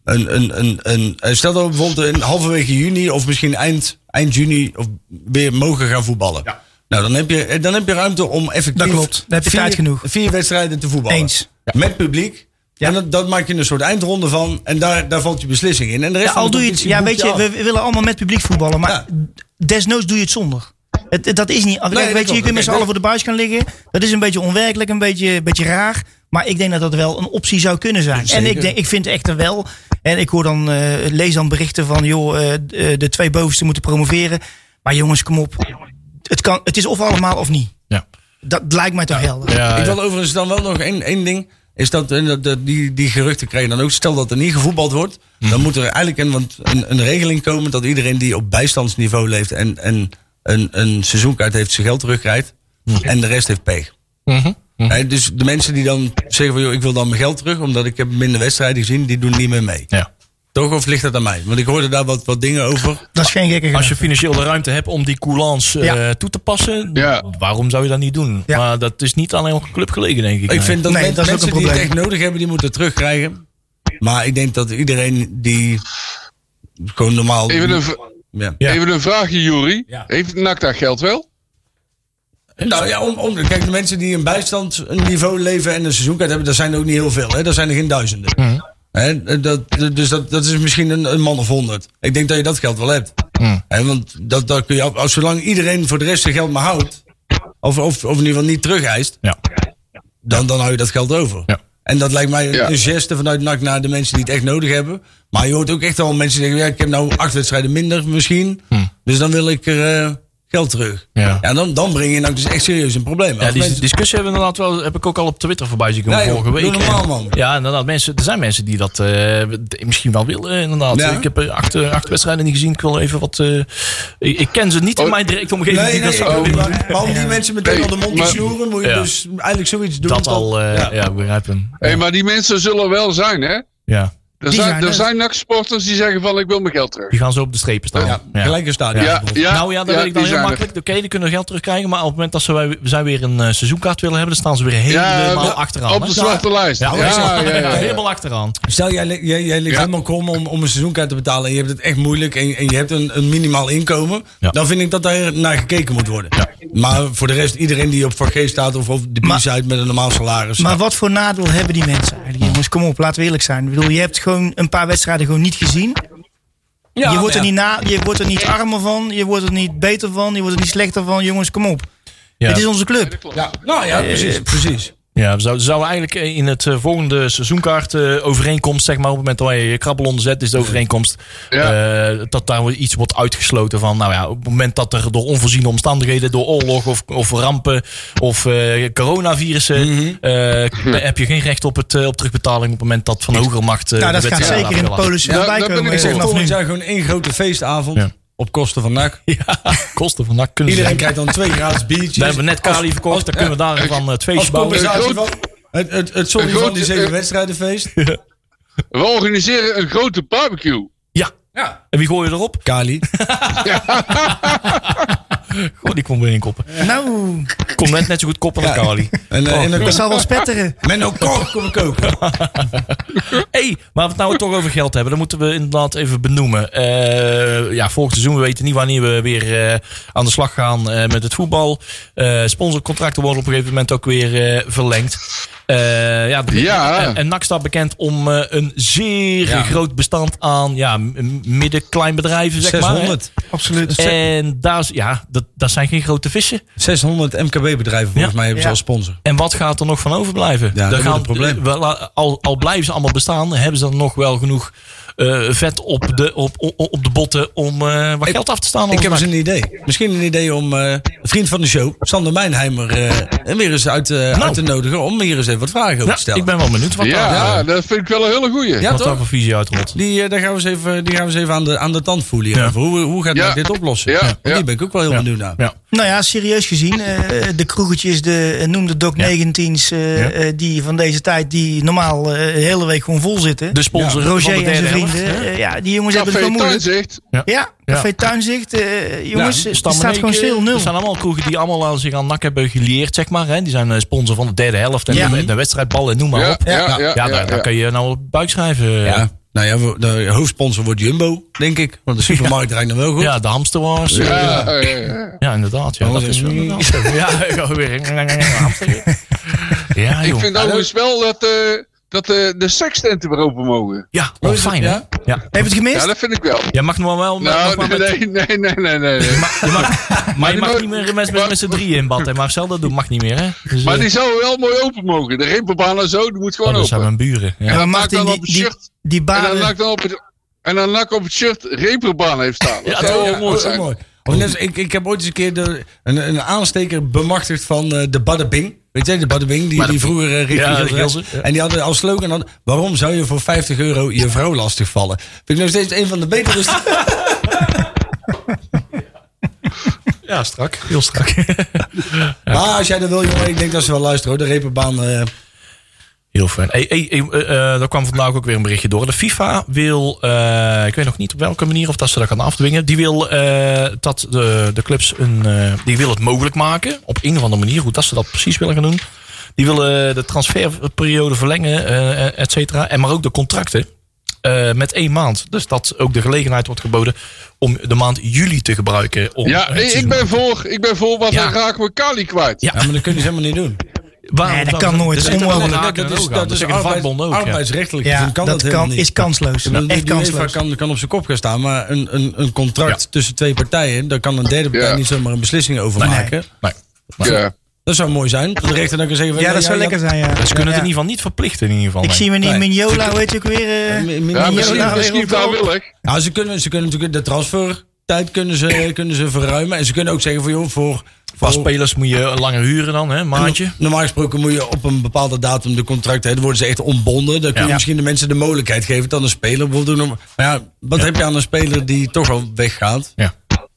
C: Een, een, een, een, eh, stel dat we bijvoorbeeld in halverwege juni of misschien eind, eind juni of weer mogen gaan voetballen. Nou, dan heb, je, eh, dan heb je ruimte om effectief
D: Dat klopt. Dan heb je
C: vier,
D: tijd genoeg.
C: vier wedstrijden te voetballen.
D: Eens.
C: Met publiek. En dat, dat maak je een soort eindronde van. En daar, daar valt je beslissing in. En de rest
D: Ja,
C: van
D: al
C: de
D: doe je het,
C: competitie
D: ja,
C: boek
D: weet je,
C: af.
D: we we willen allemaal met publiek voetballen, maar
C: Ja.
D: desnoods doe je het zonder. Het, het- dat is niet. Kijk,
C: dat
D: weet je, je
C: klopt.
D: kunt met z'n
C: Kijk,
D: allen voor de buis gaan liggen. Dat is een beetje onwerkelijk, een beetje, een beetje raar. Maar ik denk dat dat wel een optie zou kunnen zijn. En ik, denk, ik vind echt een wel. En ik hoor dan, eh, lees dan berichten van, joh, eh, d- eh, de twee bovenste moeten promoveren. Maar jongens, kom op. Het, kan, het is of allemaal of niet.
B: Ja.
D: Dat lijkt mij toch helder.
C: ik wil overigens dan wel nog één, één ding. Is dat, eh, dat- dat die, die geruchten krijgen dan ook. Stel dat er niet gevoetbald wordt.
D: Mhm.
C: Dan moet er eigenlijk een, want een, een regeling komen dat iedereen die op bijstandsniveau leeft. en, en een, een seizoenkaart heeft zijn geld terugkrijgt.
D: Mhm.
C: En de rest heeft peeg.
B: Mhm.
C: Hè, dus de mensen die dan zeggen van joh, ik wil dan mijn geld terug. omdat ik heb minder wedstrijden gezien. die doen niet meer mee.
B: Ja.
C: Toch of ligt dat aan mij? Want ik hoorde daar wat, wat dingen over.
D: Dat is geen gekke
B: Als
D: gedachte.
B: je financieel de ruimte hebt om die coulance eh,
D: Ja.
B: toe te passen,
F: Ja.
B: waarom zou je dat niet doen?
D: Ja.
B: Maar dat is niet alleen op een club gelegen, denk ik.
C: Ik
B: Nee.
C: vind dat,
D: Nee,
C: men-
D: dat is ook
C: mensen
D: een
C: die het echt
D: probleem.
C: nodig hebben, die moeten terugkrijgen. Maar ik denk dat iedereen die gewoon normaal.
F: Even een, v-
C: ja.
B: Ja.
F: even een vraagje, Jury.
C: Ja.
F: Heeft NAC dat geld wel?
C: Nou ja, om, om, kijk, de mensen die een bijstandsniveau leven en een seizoenkaart hebben, dat zijn er ook niet heel veel. Hè? Dat zijn er geen duizenden. Hè, dat, dus dat, dat is misschien een, een man of honderd. Ik denk dat je dat geld wel hebt. Hè, want dat, dat kun je, af- als zolang iedereen voor de rest zijn geld maar houdt, of, of, of in ieder geval niet terugeist,
B: Ja.
C: dan, dan hou je dat geld over.
B: Ja.
C: En dat lijkt mij een,
F: Ja.
C: een geste vanuit NAC naar de mensen die het echt nodig hebben. Maar je hoort ook echt wel mensen die zeggen, ja, ik heb nou acht wedstrijden minder misschien. Dus dan wil ik er eh, geld terug.
B: Hm. Ja.
C: dan, dan breng je NAC dus echt serieus een probleem.
B: Ja,
C: Als
B: die
C: mensen-
B: discussie hebben we inderdaad wel, heb ik ook al op Twitter voorbij zien komen
C: Nee, joh,
B: vorige
C: doe
B: week.
C: normaal, man.
B: Ja, inderdaad. Mensen, er zijn mensen die dat eh, misschien wel willen, inderdaad.
C: Ja.
B: Ik heb eh, acht, eh, acht wedstrijden niet gezien. Ik wil even wat... eh, ik, ik ken ze niet in
F: Oh.
B: mijn directe omgeving.
C: Nee,
B: die
C: nee,
B: dat
C: ik
B: zouden
C: bedoel,
B: willen.
C: maar, maar om die mensen meteen
F: Nee,
C: al de mond te
F: maar-
C: snoeren, moet je
B: Ja.
C: dus eigenlijk zoiets doen.
B: dat
C: tot-
B: al, eh, ja, ik begrijp hem.
F: Hé, maar die mensen zullen wel zijn, hè?
B: Ja.
F: Er
D: zijn
F: zijn,
D: er.
F: er zijn NAC-sporters die zeggen van ik wil mijn geld terug.
B: Die gaan zo op de strepen staan.
C: ja,
B: eh, Ja.
C: gelijk een stadion.
F: Ja, ja,
B: nou ja, dat weet ik dan
F: die
B: heel
F: zijn er.
B: makkelijk. Oké, die kunnen geld terugkrijgen. Maar op het moment dat ze, wij, zij weer een eh, seizoenkaart willen hebben, dan staan ze weer helemaal
F: Ja,
B: achteraan.
F: Op
B: hè?
F: de zwarte lijst.
B: Ja,
F: Ja, ja, ja, ja.
B: helemaal achteraan.
C: Stel, jij, li- jij, jij ligt
F: Ja.
C: helemaal krom om, om een seizoenkaart te betalen en je hebt het echt moeilijk en, en je hebt een, een minimaal inkomen.
B: Ja.
C: Dan vind ik dat daar naar gekeken moet worden. Maar voor de rest, iedereen die op G staat of op de
D: Maar-
C: b uit met een normaal salaris.
D: Maar wat voor nadeel hebben die mensen eigenlijk? Jongens, kom op, laten we eerlijk zijn. Ik bedoel, je hebt gewoon een paar wedstrijden gewoon niet gezien. je, wordt er
C: ja.
D: niet na, je wordt er niet armer van, je wordt er niet beter van, je wordt er niet slechter van. Jongens, kom op.
B: Ja.
D: Het is onze club.
C: Ja, nou ja, precies. precies.
B: Ja, we zouden, zouden eigenlijk in het eh, volgende seizoenkaart eh, overeenkomst, zeg maar, op het moment dat je je krabbel onderzet, is de overeenkomst
F: Ja.
B: eh, dat daar wel iets wordt uitgesloten van, nou ja, op het moment dat er door onvoorziene omstandigheden, door oorlog of, of rampen of eh, coronavirussen,
F: Mhm.
B: eh, heb je geen recht op, het, eh, op terugbetaling op het moment dat van hogere macht... eh,
D: Nou, dat
B: de
D: gaat
B: wedstrijd
D: zeker in de
B: afgelast.
D: polissen
F: Ja,
D: voorbij
F: dat ben
D: komen.
F: ik
D: Ik zeg
F: voor.
D: vanaf
C: Volgend
D: nu.
C: jaar gewoon één grote feestavond
B: Ja.
C: op kosten van NAC.
B: Ja, kosten van, dat kunnen ze
C: Iedereen
B: zeggen.
C: krijgt dan twee gratis biertjes.
B: We hebben net Kali
C: Als-
B: verkocht,
C: als-
B: dan kunnen we daar van het
C: Als
B: feestje bouwen.
C: compensatie
F: Een
C: van
F: groot-
C: het, het, het sorry
F: een groot-
C: van die zeven
F: eh,
C: wedstrijdenfeest.
F: We organiseren een grote barbecue.
B: Ja,
C: Ja.
B: en wie gooi je erop?
C: Kali.
B: Goh, Oh, die komt weer in koppen.
D: Nou,
B: Komt net net zo goed koppen als
C: Ja.
B: Kali.
C: En, eh, en dan
D: dat
C: komt
D: zal wel spetteren.
C: Menno Kork kom ik ook.
B: Hey, maar we het nou toch over geld hebben, dan moeten we inderdaad even benoemen. Eh, ja, volgend seizoen, we weten niet wanneer we weer eh, aan de slag gaan eh, met het voetbal. Eh, sponsorcontracten worden op een gegeven moment ook weer eh, verlengd. Eh, ja, de-
F: Ja.
B: En, en NAC staat bekend om eh, een zeer
C: Ja.
B: groot bestand aan ja, m- midden-klein bedrijven, zeg maar. hè.
C: 600. Absoluut.
B: En daar, is- ja, dat, dat zijn geen grote vissen.
C: 600 MKB-bedrijven volgens
B: Ja.
C: mij hebben ze
D: Ja.
C: als sponsor.
B: En wat gaat er nog van overblijven?
C: Ja,
B: Daar
C: dat
B: gaan,
C: wordt het probleem.
B: wel, al, al blijven ze allemaal bestaan, hebben ze dan nog wel genoeg eh, vet op de, op, op, op de botten om eh, wat geld af te staan?
C: Ik heb eens
B: ze
C: een idee. Misschien een idee om eh, een vriend van de show, Sander Mijnheimer, eh, weer eens uit, eh, uit te nodigen om hier eens even wat vragen over
B: Nou. ja,
C: te stellen.
B: Ik ben wel benieuwd wat
F: Ja,
B: daar, eh,
F: dat vind ik wel een hele goeie.
C: Ja,
B: wat
C: toch?
B: daar voor visie uitrolt.
C: Die, eh, daar gaan we eens even, die gaan we eens even aan, de, aan de tand voelen. hier
B: Ja.
C: over. Hoe, hoe gaat
F: Ja.
C: Mark dit oplossen?
F: Ja,
C: Want
F: ja.
C: Die ben ik ook wel heel benieuwd naar.
B: Ja.
D: Nou ja, serieus gezien, eh, de kroegetjes, de eh, noem de Doc 19's, eh,
B: Ja.
D: eh, die van deze tijd, die normaal eh, de hele week gewoon vol zitten.
B: De sponsor Dus van de
D: Roger en
B: derde
D: zijn
B: helft.
D: vrienden, eh, ja, die jongens hebben het
F: Café
D: gewoon moeilijk.
F: Tuinzicht.
D: Ja,
B: Ja.
D: Café Tuinzicht, eh, jongens,
B: Ja,
D: het
B: Stammeneke,
D: staat gewoon stil, nul.
B: Er zijn allemaal kroegen die allemaal aan zich aan nak hebben geleerd, zeg maar. Hè. Die zijn eh, sponsor van de derde helft en
D: Ja.
B: de, de wedstrijdballen, noem maar
F: Ja,
B: op.
F: ja, ja, ja,
B: daar,
F: ja.
B: daar kun je nou op buik schrijven.
C: Ja. Nou ja, we- de hoofdsponsor wordt Jumbo, denk ik. Want de supermarkt draait dan wel goed.
B: Ja, de hamsterwars. eh,
F: Ja, ja, ja.
B: Ja, inderdaad. Ja,
C: Oh,
B: dat
C: dat
B: is
C: is
B: wel
C: wel
B: inderdaad. Ja, ik ga weer een hamster. Ja,
F: Ik
B: joh.
F: vind overigens wel dat, eh, dat eh, de sekstenten weer open mogen.
B: Ja, wel fijn, hè?
C: ja?
B: Ja.
D: Heb je het gemist?
F: Ja, dat vind ik wel.
B: Jij mag nog maar wel... maar- nog
F: Nou,
B: maar
F: nee,
B: met-
F: nee, nee, nee, nee, nee.
B: Je mag, maar je mag
F: mo-
B: niet meer met, met, met z'n drieën in bad. Hè? Marcel, dat doet, mag niet meer, hè? Dus,
F: Maar
B: eh,
F: die zouden wel mooi open mogen. De rimpelbaan en zo, die moet
B: oh,
F: gewoon
B: dat
F: open.
B: zijn mijn buren. Ja.
D: Ja, maar
F: dan
D: Martin,
F: maak dan
D: die,
F: op
D: die,
F: shirt.
D: die
F: En dan
D: baren...
F: lak dan op het... En dan lak op het shirt reperbaan heeft staan.
B: Ja,
F: Dat
B: dat
F: zou
B: is
F: wel mooi zijn.
C: Of net als- ik, ik heb ooit eens een keer de, een, een aansteker bemachtigd van eh, de Badabing. Weet jij, de Badabing, die, die vroeger eh, richting
B: Ja,
C: Gilder
B: Gilder,
C: was.
B: ja.
C: En die hadden als slogan, hadden, waarom zou je voor 50 euro je vrouw lastigvallen? Vind ik nog steeds een van de betere... st-
B: ja, strak. Heel strak.
C: Maar als jij dat wil, jongen, ik denk dat ze wel luisteren hoor. De reperbaan... eh,
B: Heel fijn. Hey, hey, hey, eh, eh, er kwam vandaag ook weer een berichtje door. De FIFA wil, eh, ik weet nog niet op welke manier of dat ze dat gaan afdwingen. Die wil eh, dat de, de clubs een, eh, die wil het mogelijk maken. Op een of andere manier, hoe dat ze dat precies willen gaan doen. Die willen de transferperiode verlengen, eh et cetera. En maar ook de contracten. eh, met één maand. Dus dat ook de gelegenheid wordt geboden om de maand juli te gebruiken. Om,
F: Ja,
B: eh,
F: nee,
B: het seizoen-
F: ik ben voor. Ik ben voor, want
B: Ja.
F: dan raken we Kali kwijt.
B: Ja.
C: Ja, maar dat kunnen ze helemaal niet doen.
B: Waarom
D: Nee, dat
B: zou
D: kan nooit.
B: Er
D: Dat
B: zitten
D: is
B: wel
D: onmogelijk.
B: haken en
C: dat is,
B: ogen aan.
C: dat
B: Dat
C: is
B: zeggen de
C: arbeids,
B: vakbonden ook. ja.
C: arbeidsrechtelijk
D: Ja,
C: gezien kan dat,
D: dat
C: helemaal
D: kan,
C: niet.
D: is kansloos.
C: Ik bedoel,
D: Echt
C: die UEFA
D: kansloos.
C: kan, kan op zijn kop gaan staan, maar een, een, een contract tussen twee partijen, daar kan een derde partij
F: Ja.
C: niet zomaar een beslissing over maken.
B: Nee.
F: eh, Ja.
C: Dat zou mooi zijn. Dat De rechter dan kan zeggen: van,
D: Ja, dat
C: nou,
D: zou
C: jij
D: lekker zijn, ja.
B: Ze kunnen het
D: Ja.
B: in ieder geval niet verplichten in ieder geval.
D: Ik
B: nee.
D: zie meneer
C: Nee.
D: Mignola, weet je ook weer... eh,
C: hebt-
D: Ja,
F: Ja,
D: maar
F: misschien,
D: ja,
F: misschien
D: ja,
F: vrijwillig.
C: Nou, ze kunnen, ze kunnen natuurlijk de transfertijd kunnen ze, kunnen ze verruimen. En ze kunnen ook zeggen: van joh, voor.
B: Qua
C: voor
B: spelers moet je langer huren dan, hè, maatje.
C: Normaal gesproken moet je op een bepaalde datum de contracten. hè, Dan worden ze echt ontbonden. Dan kun je
B: Ja.
C: misschien de mensen de mogelijkheid geven dat een speler bijvoorbeeld. Maar ja, wat heb je aan een speler die toch al weggaat?
B: Ja.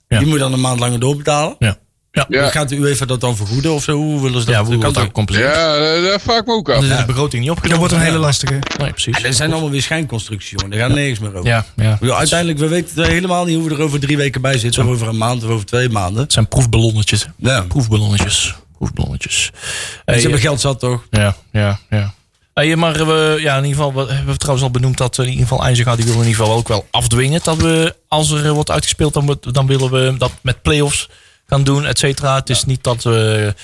B: Ja.
C: Die moet je dan een maand langer doorbetalen.
B: Ja. Ja.
F: Ja.
C: Dan Gaat de UEFA dat dan vergoeden of zo? Hoe willen ze dat?
B: Ja, hoe
C: kan
B: wordt dat
C: toch-
B: compleet?
F: Ja, dat, dat vraag ik me ook af.
B: Dus de begroting niet
D: Dat
B: opgenomen.
D: wordt een hele lastige.
B: Nee, precies.
C: Ja, dat zijn allemaal weer schijnconstructies, jongen. Daar gaat niks meer over.
B: Ja, ja.
C: Ik bedoel, Uiteindelijk, we weten helemaal niet hoe we er over drie weken bij zitten. Of over een maand of over twee maanden.
B: Het zijn proefballonnetjes. hè.
C: Ja. eh,
B: Proefballonnetjes. Proefballonnetjes.
C: En
B: Hey,
C: ze hebben geld zat, toch?
B: Ja, ja, ja. Hey, maar we, ja, in ieder geval, we hebben we trouwens al benoemd dat eh, in ieder geval Einziga die wil in ieder geval ook wel afdwingen. Dat we, als er eh, wordt uitgespeeld, dan, moet- dan willen we dat met play-offs gaan doen, et cetera. Het is niet dat we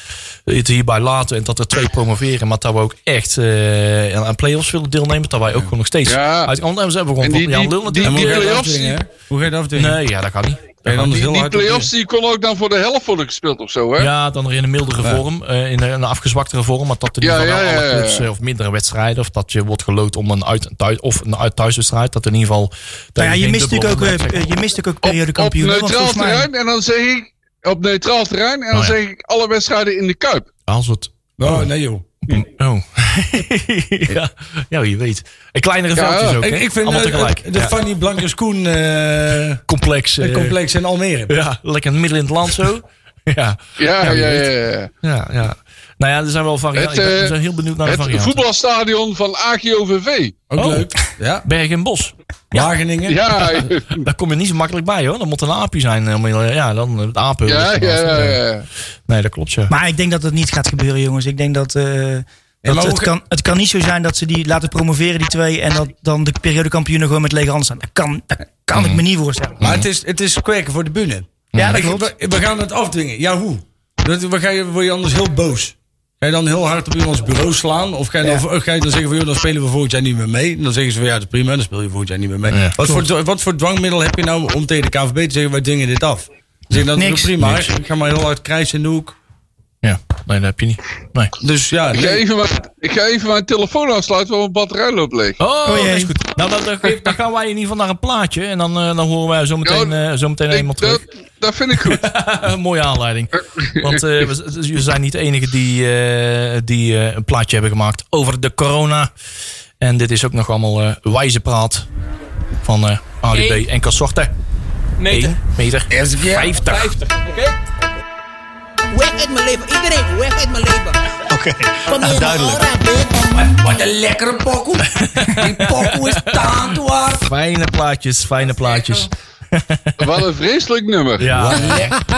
B: het hierbij laten en dat er twee promoveren, maar dat we ook echt eh, aan aan play-offs willen deelnemen. Dat wij ook gewoon nog steeds
F: Ja.
B: uit anders hebben we
F: En
B: gewoon
F: die-
B: van Jan
F: die-
B: Lul natuurlijk.
C: hoe ga
F: die
C: je dat
F: play-offs
C: afdwingen,
F: die-
C: hè? Hoe ga je dat afdwingen?
B: Nee, ja, dat kan niet.
C: Kan je anders
F: Die,
C: heel
F: die
C: hard
F: play-offs die kon ook dan voor de helft worden gespeeld of zo, hè?
B: Ja, dan er in een mildere vorm, eh, in een- een afgezwaktere vorm. Maar dat er in
F: Ja,
B: ieder geval
F: ja,
B: wel
F: ja,
B: alle
F: ja.
B: clubs, eh, of mindere wedstrijden. Of dat je wordt geloot om een uit, thuis, of een uit thuiswedstrijd. Dat in ieder geval.
D: Nou ja, je mist natuurlijk ook, eh, je mist natuurlijk ook
F: Op,
D: periode
F: op
D: kampioenen. want
F: neutraal
D: volgens mij-
F: terrein en dan zeg ik... Op neutraal terrein en dan
B: Oh, ja.
F: zeg ik alle wedstrijden in de Kuip.
B: Als het.
C: Oh, nee joh.
B: Oh. ja, ja, je weet. En kleinere
F: Ja,
B: veldjes ook. hè?
C: Ik, ik vind
F: eh,
B: Allemaal
C: het- het-
B: tegelijk.
C: de
B: Ja,
C: Fanny Blankers Koen eh,
B: complex. eh,
C: complex in Almere.
B: Ja, lekker midden in het land zo. ja,
F: Ja,
B: je
F: ja, ja.
B: weet.
F: ja.
B: ja, ja. Nou ja, er zijn wel varianten.
F: Het,
B: Ik ben-
F: eh,
B: we zijn heel benieuwd naar de
F: Het
B: varianten.
F: voetbalstadion van AGOVV.
C: Ook
B: Oh.
C: leuk. Ja.
B: Berg en Bos.
C: Wageningen.
F: Ja, ja,
B: Daar kom je niet zo makkelijk bij hoor. Dan moet er een aapje zijn. eh, om- Ja, dan het apen.
F: ja, ja, ja.
B: Nee, dat klopt ja.
D: Maar ik denk dat dat niet gaat gebeuren, jongens. Ik denk dat. eh,
C: maar
D: dat
C: hoe
D: het,
C: ge-
D: kan, het kan niet zo zijn dat ze die laten promoveren, die twee. En dat dan de periodekampioenen gewoon met lege handen staan. Dat kan, dat kan ik me niet voorstellen.
C: Maar het is, het is kweken voor de bühne.
D: Ja, dat
C: Ik-
D: klopt.
C: We, we gaan het afdwingen. Ja, hoe? Dat, we ga je, word je anders heel boos? Ga je dan heel hard op iemands bureau slaan? Of ga je dan, of ga je dan zeggen van, joh, dan spelen we volgend jaar niet meer mee? En dan zeggen ze van, ja, dat is prima, dan speel je volgend jaar niet meer mee.
B: Ja.
C: Wat, voor, wat voor dwangmiddel heb je nou om tegen de KVB te zeggen, wij dwingen dit af? Dan Zeg, je, dat
D: Niks.
C: is prima,
B: Niks.
C: ik ga maar heel hard krijsen in de hoek.
B: Ja, nee, dat heb je niet. Nee.
C: Dus ja,
F: Ik ga
C: nee.
F: even mijn, ik ga even mijn telefoon afsluiten, want mijn batterij loopt leeg.
B: Oh,
D: jee.
B: dat is goed. Nou, dan, dan, geef- dan gaan wij in ieder geval naar een plaatje. En dan, eh, dan horen wij zo meteen,
F: Ja,
B: eh, zo meteen
F: Ik-
B: eenmaal terug.
F: dat, dat vind ik goed.
B: Een mooie aanleiding. Want eh, we, we zijn niet de enigen die, eh, die eh, een plaatje hebben gemaakt over de corona. En dit is ook nog allemaal eh, wijze praat van eh ADB
G: Eén.
B: en Consorten.
G: Meter.
B: 1 meter 50.
G: 50, oké?
H: Weg uit mijn leven. Iedereen, weg uit mijn leven.
B: Oké,
H: Kom hier,
B: duidelijk.
H: Aura, dit, man.
G: Wat een lekkere pokoe. Die pokoe is taantwaard.
B: Fijne plaatjes, fijne plaatjes.
F: Wat een vreselijk nummer.
B: Ja,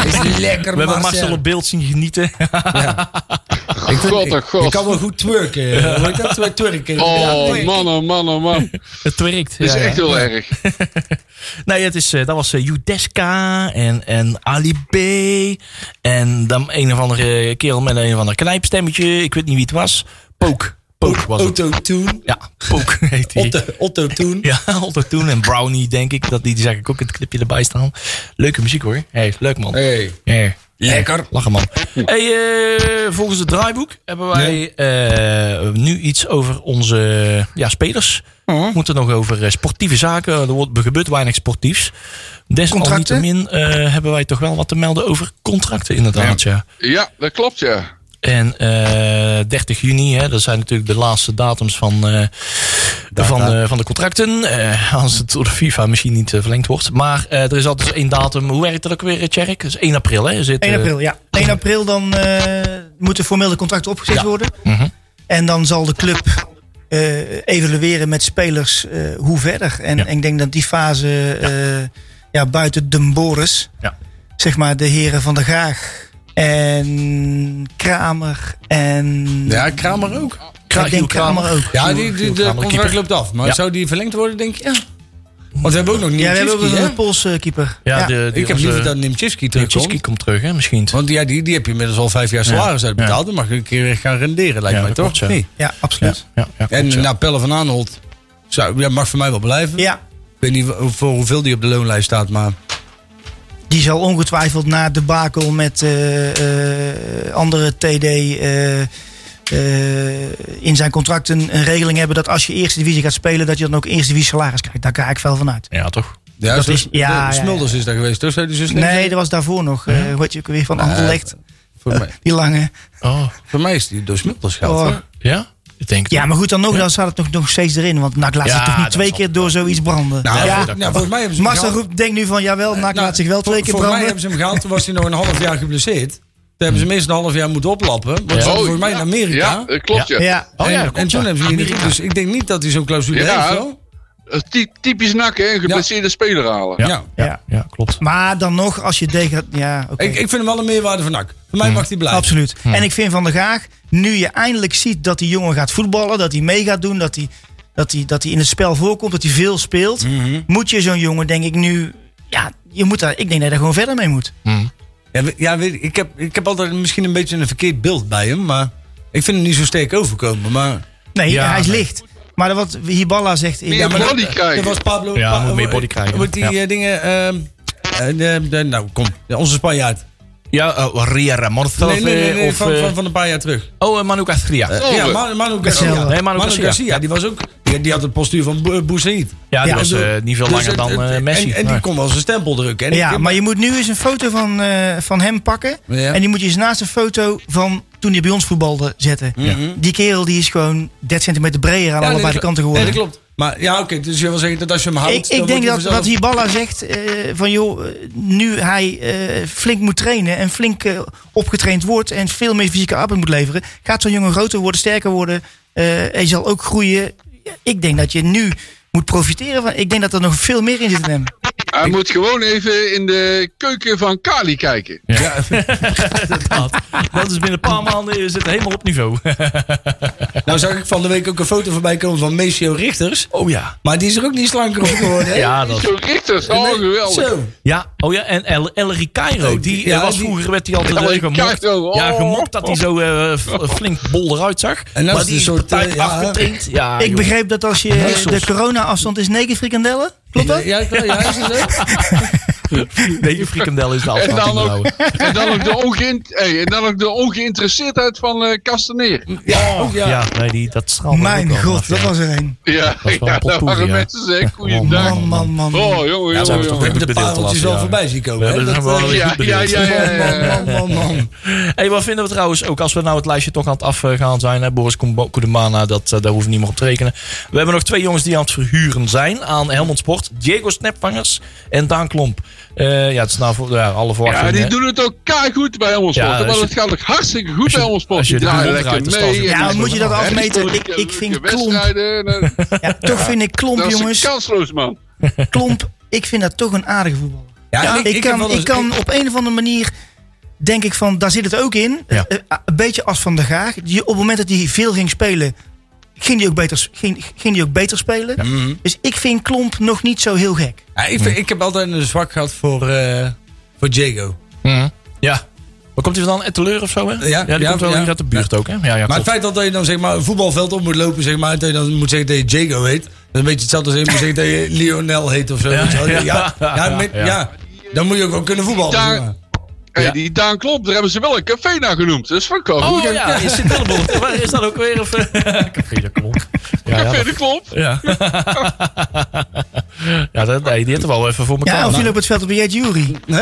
G: Is lekker,
B: we hebben Marcel op beeld zien genieten.
F: god, oh
C: Je
F: god.
C: kan wel goed twerken. eh, Hoe heet dat? Twer- Twerken.
F: Oh man, oh man, oh man.
B: Het werkt.
F: Dat is
B: ja, ja.
F: echt heel erg.
B: Nee, het is, eh, dat was eh, Judeska en, en Ali B. En dan een of andere kerel met een of ander knijpstemmetje. Ik weet niet wie het was. Pook. Pook was het.
C: Otto Toen.
B: Ja, Pook heet hij.
C: Otto, Otto Toen.
B: Ja, Otto Toen en Brownie, denk ik. Dat, die, die zag ik ook in het clipje erbij staan. Leuke muziek hoor. Hey, leuk man.
C: Hey.
B: Hey.
G: Lekker.
B: Lachen man. Hey, eh, volgens het draaiboek hebben wij eh, nu iets over onze ja, spelers. We moeten nog over eh, sportieve zaken. Er wordt- er gebeurt weinig sportiefs. Desalniettemin eh hebben wij toch wel wat te melden over contracten inderdaad. Ja.
F: Ja, dat klopt ja.
B: En eh, 30 juni, hè, dat zijn natuurlijk de laatste datums van, eh, van, eh, van de contracten. Eh, als het door de FIFA misschien niet eh, verlengd wordt. Maar eh, er is altijd één datum. Hoe werkt dat ook weer, eh, Tjerk? Dat is 1 april, hè? Is het,
D: 1
B: eh,
D: april, ja. 1 april dan eh, moeten formeel de contracten opgezet
B: Ja.
D: worden.
B: Mhm.
D: En dan zal de club eh, evalueren met spelers eh, hoe verder. En
B: Ja.
D: ik denk dat die fase eh, ja, buiten Den Boris,
B: Ja.
D: zeg maar de heren van de Graag en Kramer en...
C: Ja, Kramer ook.
D: ik denk eh, Kramer ook.
C: Ja, die, die,
B: Giel
C: de
B: Kramer,
C: contract
B: keeper.
C: loopt af. Maar
B: Ja.
C: zou die verlengd worden, denk je? Ja. Want we hebben ook nog
D: Ja, we hebben ook
C: Nimczewski,
D: nog
C: hè?
D: een Poolse keeper.
B: Ja, de, die eh,
C: Ik heb
B: onze-
D: eh,
C: liever dat Nimczewski terugkomt.
B: Tjitski komt terug, hè, misschien.
C: Want ja, die, die heb je inmiddels al vijf jaar salaris uitbetaald. Dan mag ik een keer weer gaan renderen, lijkt
B: Ja,
C: mij toch?
B: dat klopt, ja.
C: Nee.
D: Ja, absoluut.
B: Ja, ja,
C: En
B: klopt, ja.
C: nou, Pelle van Aanholt zou, ja, mag voor mij wel blijven.
D: Ja.
C: Ik weet niet hoe- voor hoeveel die op de loonlijst staat, maar...
D: Die zal ongetwijfeld na de bakel met eh, eh, andere TD eh, eh, in zijn contract een, een regeling hebben dat als je eerste divisie gaat spelen, dat je dan ook eerste divisie salaris krijgt. Daar ga ik wel van uit.
B: Ja, toch?
C: Ja,
D: Dat
C: zo-
D: is- ja,
C: de-
D: ja, ja.
C: Smulders is daar geweest, toch? Zou die zus niet
D: Nee,
C: zijn?
D: dat was daarvoor nog. eh wat je ook weer van Anderlecht,
C: eh, Voor mij,
D: die lange.
B: Oh,
C: voor mij is die door Smulders geld,
D: Oh.
C: hoor.
B: ja? Ik denk het
D: Ja,
B: wel.
D: maar goed, dan nog, dan staat het nog, nog steeds erin. Want NAC laat
B: Ja,
D: zich toch niet
B: dat
D: twee
B: zal-
D: keer door zoiets branden.
C: Nou,
D: ja.
C: voor- nou, volgens mij hebben ze hem
D: Marcel
C: gehaald-
D: roept, denkt nu van, jawel, NAC
C: Nou,
D: laat zich wel twee
C: voor-
D: keer
C: Voor mij
D: branden.
C: hebben ze hem gehaald, toen was hij nog een half jaar geblesseerd. Toen hebben ze minstens een half jaar moeten oplappen. Want ze
B: Ja.
C: hadden voor mij in Amerika.
F: Oh, Ja, dat klopt ja.
D: Ja,
B: Oh ja,
C: en,
B: dat
C: en
B: klopt,
C: toen
B: ja.
C: hebben ze hem niet
B: Amerika.
C: Dus ik denk niet dat hij zo'n clausule
F: Ja.
C: heeft. Hoor.
F: Eh, ty- Typisch nakken, hè, een geblesseerde speler halen.
C: Ja.
D: ja.
B: Ja, klopt.
D: Maar dan nog, als je degradeert... Ja, oké.
C: Ik, ik vind hem wel een meerwaarde van NAC. Voor mij mag hij blijven.
D: Absoluut.
B: Hm.
D: En ik vind Van der Gaag, nu je eindelijk ziet dat die jongen gaat voetballen, dat hij mee gaat doen, dat hij, dat hij, dat hij in het spel voorkomt, dat hij veel speelt,
B: Mhm.
D: moet je zo'n jongen, denk ik, nu. Ja, je moet daar, ik denk dat je daar gewoon verder mee moet.
C: Ja, we- ja weet, ik, ik heb, ik heb altijd misschien een beetje een verkeerd beeld bij hem. Maar ik vind hem niet zo sterk overkomen. Maar,
D: Nee,
B: Ja,
D: hij is
B: nee.
D: licht. Maar wat Hiballa zegt. in-
F: Ja, maar
C: dat-
F: body krijgen.
C: Dat was Pablo.
B: Ja,
C: Pa-
B: moet meer body krijgen.
C: Moet die
B: Ja.
C: eh, dingen... ehm, eh, eh, eh, nou, kom. Ja, Onze Spanjaard.
B: Ja, eh, Ria Ramorza
C: Nee, nee, nee, nee,
B: of...
C: van,
B: eh,
C: van, van een paar jaar terug.
B: oh, eh, Manu Castria.
F: Oh,
C: ja,
F: eh,
C: Manu, Manu
D: Garcia.
C: Garcia.
B: Nee, Manu Garcia.
C: die was ook... Die, die had het postuur van Bo- eh, Boussaïd.
B: ja, die
D: ja.
B: was eh, niet veel
C: Dus
B: langer
C: het-
B: dan
C: het-
B: eh, Messi.
C: En, en die
B: Nee.
C: kon wel zijn stempel drukken. En
D: ja,
C: ik-
D: maar je moet nu eens een foto van, eh, van hem pakken.
C: Ja.
D: En die moet je eens naast een foto van toen hij bij ons voetbalde zetten. Die kerel die is gewoon 30 centimeter breder aan
C: Ja, nee,
D: allebei
C: dat-
D: de kanten geworden.
C: Nee, dat klopt. Maar ja, oké. dus je wil zeggen dat als je hem houdt...
D: Ik,
C: dan
D: ik
C: wordt
D: denk
C: hij
D: dat
C: vanzelf-
D: wat Hiballa zegt, eh, van joh, eh, nu hij eh, flink moet trainen en flink eh, opgetraind wordt en veel meer fysieke arbeid moet leveren, gaat zo'n jongen groter worden, sterker worden. eh, hij zal ook groeien. Ja, Ik denk dat je nu moet profiteren van. Ik denk dat er nog veel meer in zit in hem.
F: Hij moet gewoon even in de keuken van Kali kijken.
B: Dat is binnen een paar maanden eh, zit het helemaal op niveau.
C: Nou zag ik van de week ook een foto voorbij komen van Maceo Richters.
B: oh ja.
C: Maar die is er ook niet slanker op geworden. hè?
B: Ja, dat,
F: Zo Richters, oh
C: Nee,
F: geweldig.
C: Zo.
B: ja, oh ja, en El, Ellery Cairo, die eh,
C: Ja,
B: was
C: die-
B: vroeger werd hij altijd eh,
F: Ellery
B: gemokt.
F: Cairo, oh.
B: Ja, gemokt dat hij zo eh, f- flink bol eruit zag.
C: En dat
B: maar
C: is
B: die
C: een
B: is
C: soort,
B: partij
C: eh, ja,
B: afgetraind. Ja,
D: ik
B: Ah, joh.
D: begreep dat als je de corona-afstand is negen frikandellen. Klopt dat?
C: Ja, ja, ja, is dat zo?
B: Nee, je frikandel is de
F: En
B: afstand.
F: dan, ook, en, dan ook de ongeïn- hey, en dan ook de ongeïnteresseerdheid van eh Castaneer.
C: ja, ook, Oh, ja.
B: Oh, Ja, nee, die, dat straalde
D: Oh Mijn
B: ook wel
D: god,
B: vanaf,
D: dat
B: ja.
D: was er een.
F: Ja,
B: wel een
F: ja dat
B: potpourri,
F: waren
B: ja.
F: mensen zeggen,
B: Oh,
F: goeiedag.
D: Man, man, man.
F: Oh, jongen,
B: Ja, ze hebben
F: jongen,
C: We
F: jongen.
B: toch
C: hebben de
B: Goed bedeeld de
C: pareltjes
B: laatste
C: wel
B: jaren.
C: voorbij zien komen.
B: Ja,
C: hè?
B: we
C: Dat,
B: zijn wel-
C: eh,
B: goed
F: Ja, ja,
B: bedeeld.
F: ja, ja, ja.
C: Man, man, man, man.
B: Hey, wat vinden we trouwens ook als we nou het lijstje toch aan het afgaan zijn? Hè? Boris Koem- Koedemana, dat, eh, daar hoeven we niet meer op te rekenen. We hebben nog twee jongens die aan het verhuren zijn aan Helmond Sport: Diego Snapvangers en Daan Klomp. Eh, ja, het is nou voor ja, alle verwachtingen.
F: Ja, die
B: hè.
F: doen het ook goed bij Helmersport.
B: Ja,
F: Ja,
B: als
F: want
B: je-
F: het gaat ook hartstikke goed bij Helmersport.
B: als je
F: Die
B: de
F: draaien
B: boel
F: lekker
B: draait, dan staat ze
F: mee.
B: op.
F: en
D: Ja,
F: die
D: moet je dat
F: doen
D: afmeten? Ik,
F: leuke-
D: ik vind
F: leuke
D: klomp.
F: wedstrijden. Nou,
D: Ja, toch vind ik klomp,
F: Dat is
D: jongens.
F: kansloos, man.
D: Klomp, ik vind dat toch een aardige voetballer.
C: Ja,
D: Ja,
C: en heb
D: ik, kan,
C: wel
D: ik
C: eens-
D: kan op een of andere manier. Denk ik van, daar zit het ook in.
B: Ja.
D: Eh, eh, een beetje als van de Gaag. Die, op het moment dat hij veel ging spelen, ging hij ook beter, s- ging, ging die ook beter spelen.
B: Mhm.
D: Dus ik vind Klomp nog niet zo heel gek.
C: Ja, ik, vind- ik heb altijd een zwak gehad voor, eh, voor Diego.
B: Mhm. Ja. Waar komt hij vandaan? Etteleur of zo? Hè?
C: Ja,
B: die
C: ja,
B: komt wel
C: ja.
B: hier uit de buurt ook. Hè? Ja, ja,
C: Maar het
B: klopt.
C: feit dat je dan zeg maar, een voetbalveld op moet lopen zeg maar, en dat je dan moet zeggen dat je Diego heet. Dat is een beetje hetzelfde als je moet zeggen dat je Lionel heet of zo.
B: Ja,
C: weet je wel. Ja,
B: ja,
C: ja,
B: ja,
C: met-
B: ja.
C: ja. dan moet je ook wel kunnen voetballen.
F: Daar-
C: zeg maar.
F: Hey,
B: Ja.
F: Die Daan Klomp, daar hebben ze wel een café naar genoemd. Dat is van Klomp.
B: Oh ja, is sint Hellenbocht. Waar Is dat ook weer? Of, eh, Café de Klomp. Ja, ja,
F: Café
B: dat-
F: de Klomp.
B: ja. ja dat, nee, die heeft er wel even voor elkaar.
D: Ja, of je loopt het veld op bij Jet Jury.
C: Hè?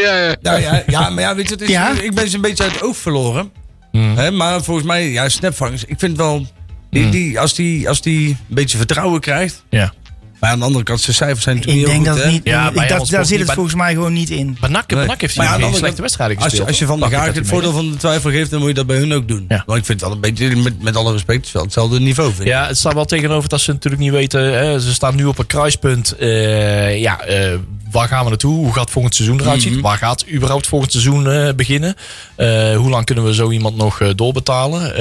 F: Ja, ja, ja.
C: Nou ja, ja, maar ja, weet je, het is,
D: Ja?
C: ik ben ze een beetje uit het oog verloren.
B: Hmm.
C: Hè, maar volgens mij, ja, snapvangers, ik vind wel, die, die, als, die, als die een beetje vertrouwen krijgt.
B: ja.
C: Maar aan de andere kant, zijn cijfers zijn natuurlijk
D: Ik
C: heel
D: denk
C: goed,
D: dat
C: hè.
D: niet.
B: Ja,
D: ik-
B: bij
D: dat,
B: ons
D: daar
B: ook niet,
D: zit het
B: maar-
D: volgens mij gewoon niet in.
B: Maar Nak,
C: Nee.
B: Nak heeft
C: Maar
B: hij
C: aan de
B: geen
C: andere
B: slechte
C: kant,
B: wedstrijden
C: als
B: gespeeld.
C: je, als je
B: hoor.
C: Van der
B: Dacht ik
C: Gaag
B: dat
C: het
B: hij
C: voordeel van de twijfel geeft, dan moet je dat bij hun ook doen.
B: Ja.
C: Want ik vind het wel een beetje, met, met alle respect, het is wel hetzelfde niveau. Vind ik.
B: Ja, het staat wel tegenover dat ze natuurlijk niet weten. Hè, ze staan nu op een kruispunt. Eh, ja, eh, waar gaan we naartoe? Hoe gaat volgend seizoen eruit
D: Mhm.
B: zien? Waar gaat überhaupt volgend seizoen eh, beginnen? Eh, hoe lang kunnen we zo iemand nog eh, doorbetalen?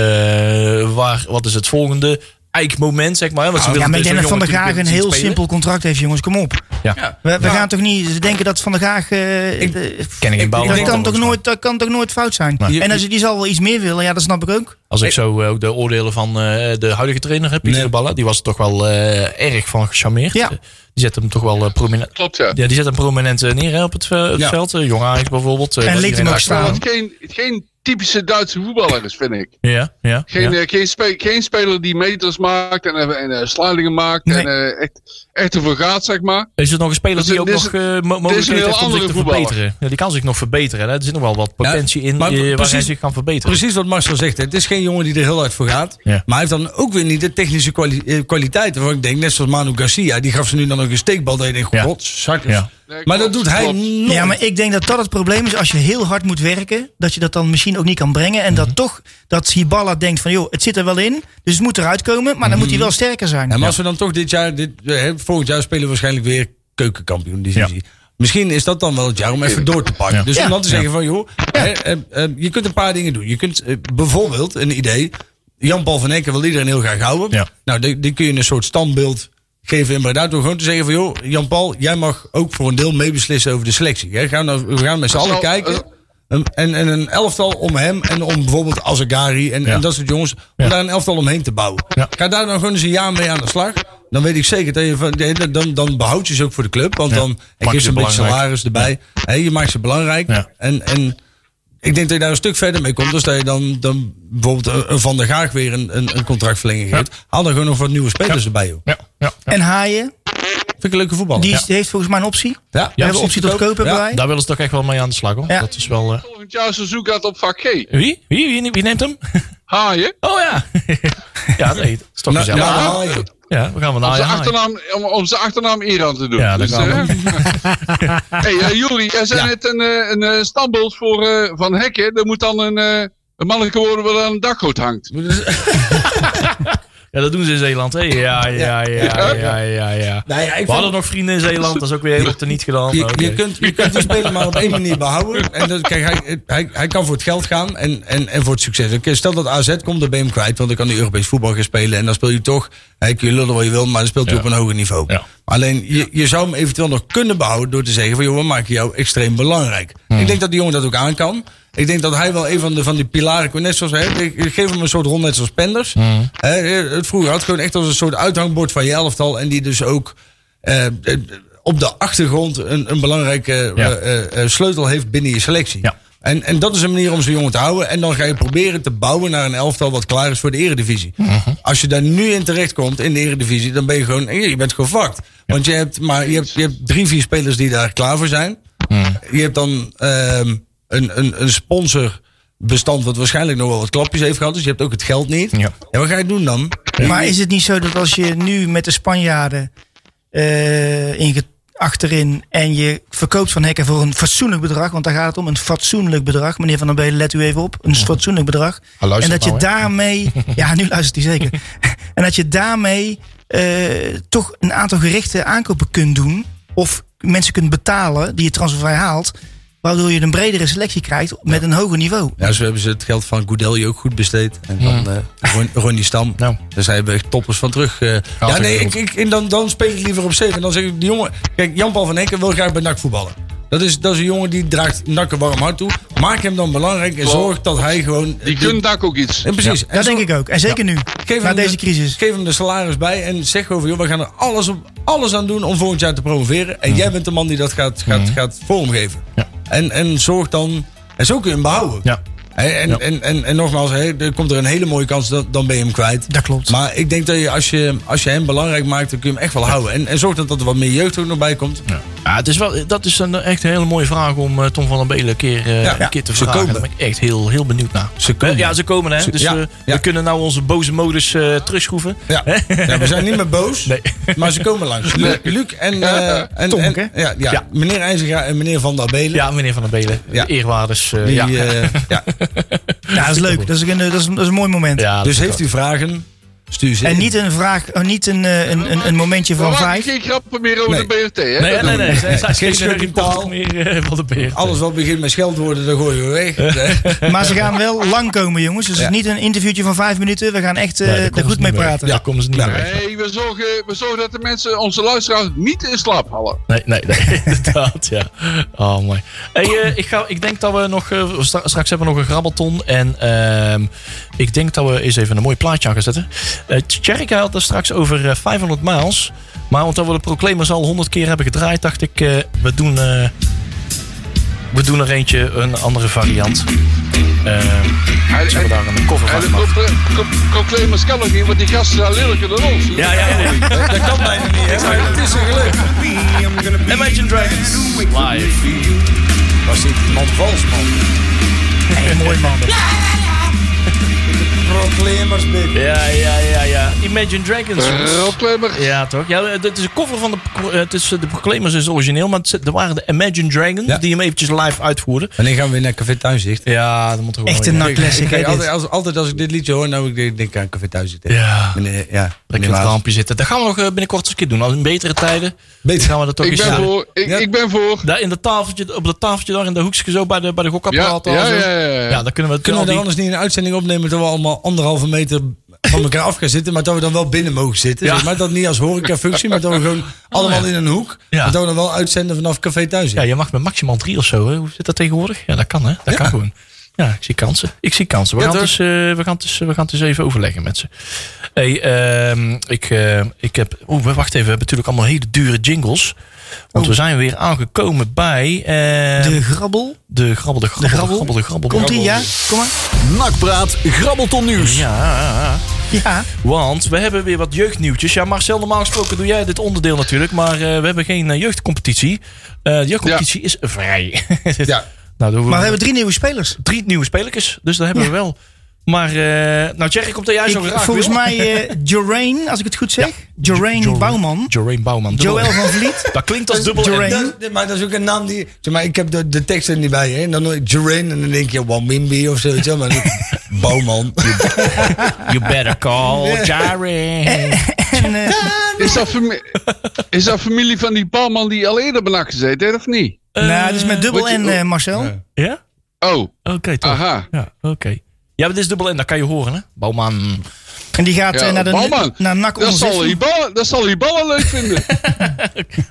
B: Eh, waar, wat is het volgende? eik moment, zeg maar. hè, Want ze
D: Ja,
B: willen
D: maar ik
B: dus
D: denk
B: zo'n
D: dat Van der
B: jongen
D: Graag een
B: natuurlijk
D: heel
B: zien spelen.
D: simpel contract heeft, jongens. Kom op.
B: Ja.
D: We, we gaan toch niet denken dat Van der Graag... eh, de-
B: Ken ik geen bal.
D: dat,
B: van.
D: kan toch nooit, dat kan toch nooit fout zijn?
C: Nee.
D: En als, die zal wel iets meer willen, ja, dat snap ik ook.
B: Als ik zo eh, ook de oordelen van eh, de huidige trainer heb, Pieter
C: Nee.
B: de Balla, die was er toch wel eh, erg van gecharmeerd.
D: Ja.
B: Eh, Die zet hem toch wel eh, prominent.
F: Klopt, ja.
B: Ja, die zet hem prominent eh, neer hè, op het, eh, het
C: Ja.
B: veld. Eh, Jong Ajax bijvoorbeeld. eh,
D: En
B: was
D: liet
B: iedereen
D: hem ook
B: daar-
D: staan.
F: Wat geen, geen typische Duitse voetballer is, vind ik.
B: Ja, ja. ja.
F: Geen, eh, geen, spe- geen speler die meters maakt en, eh, en eh, sluitingen maakt en eh, echt, echt ervoor gaat, zeg maar.
B: Is er nog een speler
F: Dus
B: die
F: dit
B: ook
F: is-
B: nog eh, mo-
F: dit is een
B: mogelijkheid
F: heel
B: heeft om zich
F: andere
B: te
F: voetballer.
B: verbeteren? Ja, die kan zich nog verbeteren. Hè? Er zit nog wel wat potentie in
C: maar
B: eh, waar hij
C: precies-
B: zich kan verbeteren.
C: Precies wat Marcel zegt. hè. Het is geen jongen die er heel hard voor gaat.
B: Ja.
C: Maar hij heeft dan ook weer niet de technische kwali- eh, kwaliteiten. Want ik denk, net zoals Manu Garcia, die gaf ze nu dan ook een steekbal. Dat je denkt,
B: Ja.
C: god, zakkers.
B: Ja.
F: Nee,
C: Maar dat
F: klopt,
C: doet hij
F: klopt.
C: nooit.
D: Ja, maar ik denk dat dat het probleem is. Als je heel hard moet werken, dat je dat dan misschien ook niet kan brengen. En
C: Mhm.
D: dat toch, dat Hibala denkt van, joh, het zit er wel in. Dus het moet eruit komen, maar dan moet hij wel sterker zijn.
C: Mhm. Ja, maar als we dan toch dit jaar, dit, eh, hè, volgend jaar spelen we waarschijnlijk weer keukenkampioen divisie. Misschien is dat dan wel het jaar om even door te pakken. Dus
D: Ja.
C: om dan te zeggen van, joh, hè, eh, eh, je kunt een paar dingen doen. Je kunt eh, bijvoorbeeld een idee. Jan-Paul van Hekken wil iedereen heel graag houden.
B: Ja.
C: Nou, die, die kun je een soort standbeeld geven in Breda. Door gewoon te zeggen van, joh, Jan-Paul, jij mag ook voor een deel meebeslissen over de selectie. Hè. Gaan nou, we gaan met z'n allen
F: zal-
B: eh,
C: kijken. En, en, en een elftal om hem en om bijvoorbeeld Azagari en,
B: Ja.
C: en dat soort jongens. Om
B: Ja.
C: daar een elftal omheen te bouwen.
B: Ja.
C: Ga daar dan gewoon eens een jaar mee aan de slag. Dan weet ik zeker dat je van, nee, dan- dan, dan behoud je ze ook voor de club. Want dan
B: je
C: dan geef
B: ze
C: ze een beetje
B: belangrijk.
C: salaris erbij. Hè, je maakt ze belangrijk.
B: Ja.
C: En, en ik denk dat je daar een stuk verder mee komt. Dus dat je dan, dan bijvoorbeeld een- een Van der Gaag weer een, een, een contractverlenging geeft. Haal dan gewoon nog wat nieuwe spelers erbij. Joh.
B: Ja, ja.
D: En Haaien,
C: Vind ik een leuke voetbal.
D: die is- heeft volgens mij een optie.
C: ja.
D: we hebben optie tot kopen
C: Ja.
D: hebben wij.
B: Daar willen ze toch echt wel mee aan de slag hoor.
D: Ja.
B: Dat is wel. eh,
F: Volgend jaar Suzuki gaat op vak G.
B: Wie? Wie? Wie, wie neemt hem?
F: Haaien.
B: Oh ja. ja, nee, dat is toch
C: Nou,
B: gezellig.
C: nou,
B: Ja,
C: dan haal je.
B: we gaan wel naar
F: Zijn
B: Ajax.
F: achternaam, om, om zijn achternaam Iran te doen.
B: Ja, dat kan
F: eh, hey, eh, Juri, jij zei net een, eh, een eh, standbeeld voor eh, Van Hekken. Er moet dan een, eh, een mannelijke worden wat aan een dakgoot hangt.
B: Ja, dat doen ze in Zeeland. Hè? Ja, ja, ja, ja, ja, ja.
C: Nou ja, ik
B: We
C: vind-
B: hadden nog vrienden in Zeeland. Dat is ook weer helemaal teniet gedaan.
C: Je,
B: Oké.
C: je, kunt, je kunt die speler maar op één manier behouden. En dat, kijk, hij, hij, hij kan voor het geld gaan en, en, en voor het succes. Oké, Stel dat AZ komt, dan ben je hem kwijt. Want dan kan hij Europees voetbal gaan spelen. En dan speel je toch, hij kun je lullen wat je wil, maar dan speelt hij
B: Ja.
C: op een hoger niveau.
B: Ja.
C: Alleen, je, je zou hem eventueel nog kunnen behouden door te zeggen van... joh, we maken jou extreem belangrijk.
B: Hmm.
C: Ik denk dat die jongen dat ook aan kan. Ik denk dat hij wel een van de, van die pilaren... Net zoals, hè, ik- ik geef hem een soort rond net zoals Penders.
B: Hmm.
C: Hè, het vroeger had gewoon echt als een soort uithangbord van je elftal. En die dus ook eh, eh, op de achtergrond een, een belangrijke
B: Ja.
C: eh, eh, eh, sleutel heeft binnen je selectie.
B: Ja.
C: En, en dat is een manier om zo'n jongen te houden. En dan ga je proberen te bouwen naar een elftal wat klaar is voor de eredivisie.
B: Mhm.
C: Als je daar nu in terecht komt in de eredivisie, dan ben je gewoon, eh, je bent gevakt. Want je hebt, maar je, hebt, je hebt drie, vier spelers die daar klaar voor zijn.
B: Mhm.
C: Je hebt dan ehm, een, een, een sponsorbestand wat waarschijnlijk nog wel wat klapjes heeft gehad. Dus je hebt ook het geld niet.
B: Ja.
C: En wat ga je doen dan?
D: Maar is het niet zo dat als je nu met de Spanjaarden eh, in ge- achterin en je verkoopt van Hekken voor een fatsoenlijk bedrag, want daar gaat het om, een fatsoenlijk bedrag. Meneer Van der Belen, let u even op, een fatsoenlijk bedrag.
C: Ah,
B: Hij
D: en
B: luistert
D: dat je
B: nou, hè?
D: daarmee, ja, nu luistert hij zeker. en dat je daarmee eh, toch een aantal gerichte aankopen kunt doen of mensen kunt betalen die je transfervrij haalt, waardoor je een bredere selectie krijgt met een hoger niveau.
C: Ja, zo hebben ze het geld van Goudelje ook goed besteed. En
D: Mm.
C: van eh Ron- Ronnie Stam.
B: Nou.
C: Dus daar hebben we echt toppers van terug. eh. ja, nee, ik, ik, en dan, dan speel ik liever op 7. En dan zeg ik, die jongen... Kijk, Jan-Paul van Hekken wil graag bij NAC voetballen. Dat is, dat is een jongen die draagt NAC een warm hart toe. Maak hem dan belangrijk en zorg dat hij gewoon...
F: Die kunt dak ook iets.
C: En precies. En
D: Dat
C: zo-
D: denk ik ook. En zeker nu,
C: geef
D: na
C: hem de-
D: deze crisis.
C: Geef hem de salaris bij en zeg gewoon van... Joh, we gaan er alles, op, alles aan doen om volgend jaar te promoveren. En jij bent de man die dat gaat, gaat,
D: Mhm.
C: gaat vormgeven.
B: Ja.
C: En, en zorg dan... En zo kun je hem behouden.
B: Ja.
C: Hè, en, en, en, en nogmaals, hè, er komt er een hele mooie kans, dan, dan ben je hem kwijt.
D: Dat klopt.
C: Maar ik denk dat je als, je als je hem belangrijk maakt, dan kun je hem echt wel houden. En, en zorg dat, dat er wat meer jeugd ook nog bij komt.
B: Ja. Ja, het is wel, dat is een echt een hele mooie vraag om eh, Tom van der Belen een keer, eh,
C: Ja.
B: een keer te
C: Ze
B: vragen.
C: komen.
B: Daar ben ik echt heel, heel benieuwd naar.
C: Ze komen.
B: Ja, ze komen hè.
C: Ze-
B: Dus
C: ja,
B: eh,
C: ja.
B: we kunnen nou onze boze modus eh, terugschroeven.
C: Ja. Ja, we zijn niet meer boos,
B: Nee.
C: maar ze komen langs. Lu- Luc en, eh, en,
D: Tonk,
C: en-
D: hè?
C: ja, ja,
B: Ja.
C: meneer IJzerga en meneer Van der Belen.
B: Ja, meneer Van der Belen.
C: Ja.
B: De eerwaardes. eh,
C: die,
B: ja.
C: eh, ja.
D: Ja, dat is leuk. Dat is een, dat is een, dat is een mooi moment.
B: Ja, dat
C: Dus
B: is
C: heeft u vragen? Stuur ze
D: En
C: in.
D: niet een vraag, eh, niet een, eh, een, een, een momentje
F: Dan
D: van
F: maak ik
D: vijf.
F: geen grappen meer over
C: Nee.
F: de BRT. Hè?
B: Nee, nee,
F: Dat doen
B: nee.
F: we
B: Zij
C: Geen
B: zijn geen
C: schurk in
B: reporter
C: taal.
B: meer eh, van de beer.
C: Alles wat begint met scheldwoorden, dan gooien we weg. Eh,
D: Maar ze gaan wel lang komen, jongens. Dus het is niet een interviewtje van vijf minuten. We gaan echt eh, er goed mee praten.
B: Ja, daar komen ze niet
C: Ja.
B: meer
F: niet.
B: weg.
F: Nee, we zorgen, we zorgen dat de mensen, onze luisteraars, niet in slaap vallen.
B: Nee, nee, nee. Inderdaad, ja. Oh, mooi. Hey, eh, ik, ga, ik denk dat we nog... eh, stra- straks hebben we nog een grabbelton. En ehm, ik denk dat we eens even een mooi plaatje aan gaan zetten. Eh Tjerk had het straks over eh, 500 miles. Maar omdat we de Proclaimers al 100 keer hebben gedraaid... dacht ik, eh, we doen... eh, we doen er eentje, een andere variant. Ehm
F: En,
B: zullen we
F: en,
B: daar een cover
F: en eh, de
B: van maken?
F: pro- pro- proclaimers kan ook niet, want die eh, gasten zijn lelijker dan ons.
B: Ja, ja, ja.
C: dat kan bijna niet, hè? Maar het is een geluk.
B: Imagine Dragons. Live.
C: Was dit man vals, man?
D: mooi man.
C: Proclaimers, baby.
B: Ja, ja, ja, ja. Imagine Dragons.
F: Proclaimers.
B: Ja, toch? Ja, eh, dit is een cover van de, pro- eh, het is, eh, de Proclaimers is origineel, maar het zit- er waren de Imagine Dragons
C: Ja.
B: die hem eventjes live uitvoerden.
C: Wanneer gaan we weer naar Café Thuiszicht?
B: Ja, dat moet gewoon.
D: Echt een
B: ja.
D: nakclassic.
C: Kijk,
D: hè, dit.
C: altijd, als, altijd als ik dit liedje hoor, nou ik denk, denk aan Café Thuiszicht. hè.
B: Ja.
C: Meneer, ja.
B: Lekker
C: meneer
B: in het
C: Maas.
B: rampje zitten. Dat gaan we nog eh, binnenkort eens een keer doen. Als in betere tijden
C: Beter.
B: gaan we dat ook
F: Ik
B: eens
F: ben
B: eh,
F: voor. Ik,
C: Ja.
F: ik ben voor.
B: Daar in dat tafeltje, op dat tafeltje daar in de hoekje zo bij de, bij de
F: Ja,
B: gokapparaten.
F: ja,
B: al zo.
F: ja, ja.
B: Ja, dan kunnen we
C: Kunnen
B: het
C: we
B: al
C: dan
B: die-
C: anders niet een uitzending opnemen dat we allemaal anderhalve meter van elkaar af gaan zitten, maar dat we dan wel binnen mogen zitten?
B: Ja.
C: Zeg maar dat niet als horecafunctie, maar dat we gewoon allemaal in een hoek,
B: Ja.
C: maar dat we dan wel uitzenden vanaf Café Thuis.
B: Ja, je mag met maximaal drie of zo. Hè? Hoe zit dat tegenwoordig? Ja, dat kan hè. Dat kan gewoon. Ja, ik zie kansen. Ik zie kansen. We,
C: Ja,
B: gaan, het
C: toch?
B: eens, eh, we, gaan, het eens, we gaan het eens even overleggen met ze. Hey, ehm, ik, eh, ik heb... Oeh, wacht even. We hebben natuurlijk allemaal hele dure jingles. Want we zijn weer aangekomen bij... eh, de
D: De grabbel.
B: grabbel, de grabbel, de grabbel,
D: grabbel.
B: de grabbel.
D: Komt ie, ja? Kom maar.
A: Nakpraat, grabbelton nieuws.
B: Ja,
D: Ja.
B: want we hebben weer wat jeugdnieuwtjes. Ja, Marcel, normaal gesproken doe jij dit onderdeel natuurlijk. Maar eh, we hebben geen eh, jeugdcompetitie. Eh, de jeugdcompetitie is vrij.
C: Ja.
B: Nou, doen
D: Maar we hebben drie nieuwe spelers.
B: drie nieuwe spelers. Dus dat hebben we wel. Maar, eh nou, Jerry, komt dat jij zo
D: Ik-
B: graag
D: volgens
B: wil.
D: mij eh Joraine, als ik het goed zeg. Joraine
B: Jorraine-
D: Bouwman.
B: Jorraine Bouwman. dubbel E.
D: Joël
B: N.
D: van Vliet.
B: Dat klinkt als dubbel E. N.
D: Jorraine.
C: Dat is- maar dat is ook een naam die. Zeg maar, ik heb de, de tekst er niet bij. Hè? En dan hoor ik Jurain en dan denk je Wamimbi of zoiets. hè, Maar dan- Bouwman.
B: You better call Jerry.
D: En, eh,
F: Is, dat fami- is dat familie van die balman die al eerder benak gezeten heeft, of niet?
B: Eh,
D: nou, het is met dubbel
F: Wat je-
D: N, eh, Marcel.
C: Ja.
B: Ja?
F: Oh,
B: Oké,
D: Ah.
B: toch.
F: aha.
B: Ja, oké. Ja, maar dit is dubbel N. Dat kan je horen, hè? Bouwman.
D: En die gaat
F: Ja,
D: eh, naar de
F: Bouwman.
D: naar NAC
F: Dat zal, die
D: 16.
F: ballen, dat zal die ballen leuk vinden.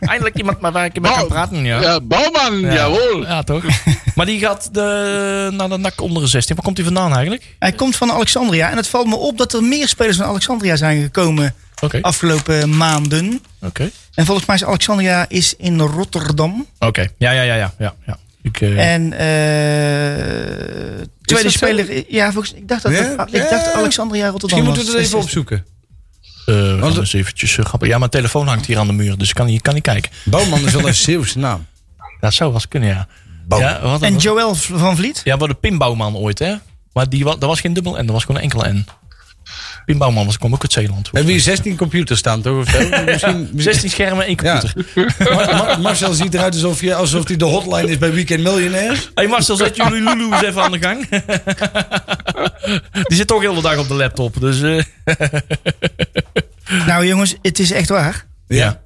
B: Eindelijk iemand maar waar ik mee kan
D: Oh.
F: Bouw-
B: praten, ja.
F: Ja, balman, jawohl.
B: Ja, toch? maar die gaat de, naar de nak onder de 16. Waar komt die vandaan eigenlijk?
D: Hij komt van Alexandria. En het valt me op dat er meer spelers van Alexandria zijn gekomen
B: Oké.
D: Ah. afgelopen maanden.
B: Oké.
D: En volgens mij is Alexandria is in Rotterdam.
B: Oké. Ja, ja, ja, ja. ja, ja. Ik, eh,
D: En eh tweede
C: dat zo?
D: speler. Ja, volgens, ik dacht dat
C: Ja?
D: dat- ik dacht
C: Ja.
D: Alexandria Rotterdam.
C: Misschien
D: was.
C: moeten we dat even opzoeken.
B: Eh, we gaan
C: Want-
B: eens eventjes eh, grappen. Ja, mijn telefoon hangt hier aan de muur, dus ik kan, niet- ik kan niet kijken.
C: Bouwman is wel een Zeeuwse naam.
B: Dat zou wel eens kunnen, ja.
C: Bouwman.
B: Ja, we hadden-
D: En Joël van Vliet.
B: ja, we hadden Pimbouwman ooit, hè? Maar die, wa- dat was geen dubbel N, dat was gewoon een enkele N. Pimbouwman was, kwam ook uit Zeeland.
C: We hebben hier 16 computers staan, toch? Of zo? Misschien,
B: 16 schermen, één
C: Ja.
B: computer.
C: Mar- Mar- Marcel ziet eruit alsof hij alsof die de hotline is bij Weekend Millionaires.
B: Hey Marcel, zet jullie Lulu eens even aan de gang. die zit toch heel de dag op de laptop, dus... eh,
D: Nou jongens, het is echt waar.
B: Ja.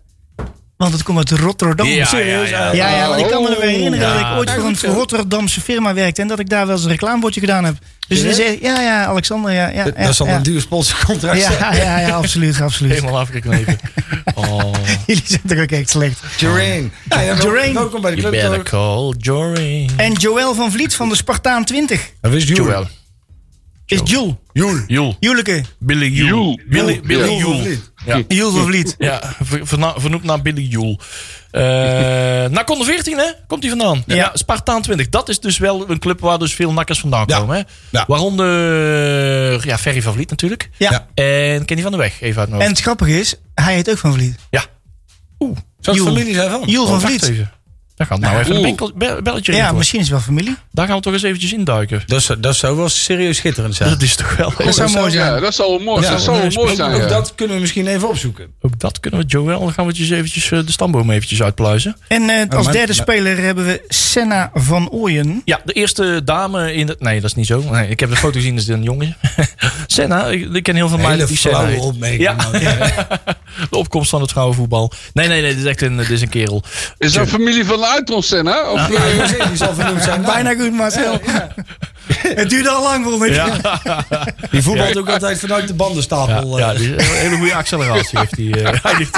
D: Want het komt uit Rotterdam.
B: ja, ja.
D: Ja, ja, want ik kan me
C: Oh.
D: nog herinneren dat
B: Ja.
D: ik ooit voor een Rotterdamse firma werkte en dat ik daar wel eens een reclamebordje gedaan heb. Dus het is echt- ja, ja, Alexander, ja, ja. ja,
C: Dat zal
D: ja.
C: een duur sponsorcontract zijn.
D: Ja, ja, ja, absoluut, absoluut.
B: Helemaal afgeknepen. Oh.
D: Jullie zijn toch ook echt slecht.
C: Jurain. Ja, ja, wel-
D: Jurain.
C: Welkom bij de
B: You
C: club.
B: better
C: toch?
B: call Jory.
D: En Joël van Vliet van de Spartaan 20
C: Dat is Jurain.
B: Joel.
D: is Joel.
C: Joel.
B: Joel.
D: Joeleke.
B: Billy Joel.
F: Joel.
B: Billy, Billy
C: Joel van
B: Joel.
C: Vliet.
D: Joel van Vliet.
B: Ja, ver- verna- vernoemd naar Billy Joel. Eh NAC 114, hè? Komt die vandaan? Ja.
D: Ja.
B: Spartaan 20. Dat is dus wel een club waar dus veel nakkers vandaan
C: Ja.
B: komen. Hè?
C: Ja.
B: Waaronder ja, Ferry van Vliet natuurlijk.
D: Ja.
C: Ja.
B: En Kenny van der Weg, even uit mijn
D: En
B: hoofd.
D: het grappige is, hij heet ook van Vliet.
B: Ja.
C: Zou het
D: Joel.
C: familie zijn van?
D: Joel van
B: Oh, wacht
D: Vliet.
B: even. Daar gaat nou even een winkel- be- belletje
D: Ja,
B: rinkelen.
D: misschien is het wel familie.
B: Daar gaan we toch eens eventjes induiken.
C: Dat zou, dat zou wel serieus schitterend zijn.
B: Dat is toch wel...
D: Dat zou mooi zijn.
F: Ja, dat zal wel mooi,
C: Ja,
F: dat zal wel
B: dat is
F: mooi
B: ook-
F: zijn.
C: Ook
F: ja.
C: dat kunnen we misschien even opzoeken.
B: Ook dat kunnen we, Joel, dan gaan we het eens eventjes eh, de stamboom eventjes uitpluizen.
D: En eh, als
C: maar-
D: derde
C: maar-
D: speler hebben we Senna van Ooyen.
B: Ja, de eerste dame in de... Nee, dat is niet zo. Nee, ik heb de foto gezien, dat is een jongen. Senna, ik, ik ken heel veel meiden
C: Hele
B: die Senna
C: flauwe
B: heet.
C: opmerking.
B: Ja.
C: man. Ja.
B: De opkomst van het vrouwenvoetbal. Nee, nee, nee, dit is echt een, dit is een kerel.
F: Is dat familie van Uiton Senna? Of, eh,
C: ik zeg, Die zal vernoemd zijn. Nou,
D: Bijna goed, Marcel. het duurde al lang voor me.
C: Die voetbalt ook altijd vanuit de bandenstapel. eh.
B: Ja,
C: Ja,
B: die, een hele goede acceleratie heeft die. eh, hij. ligt,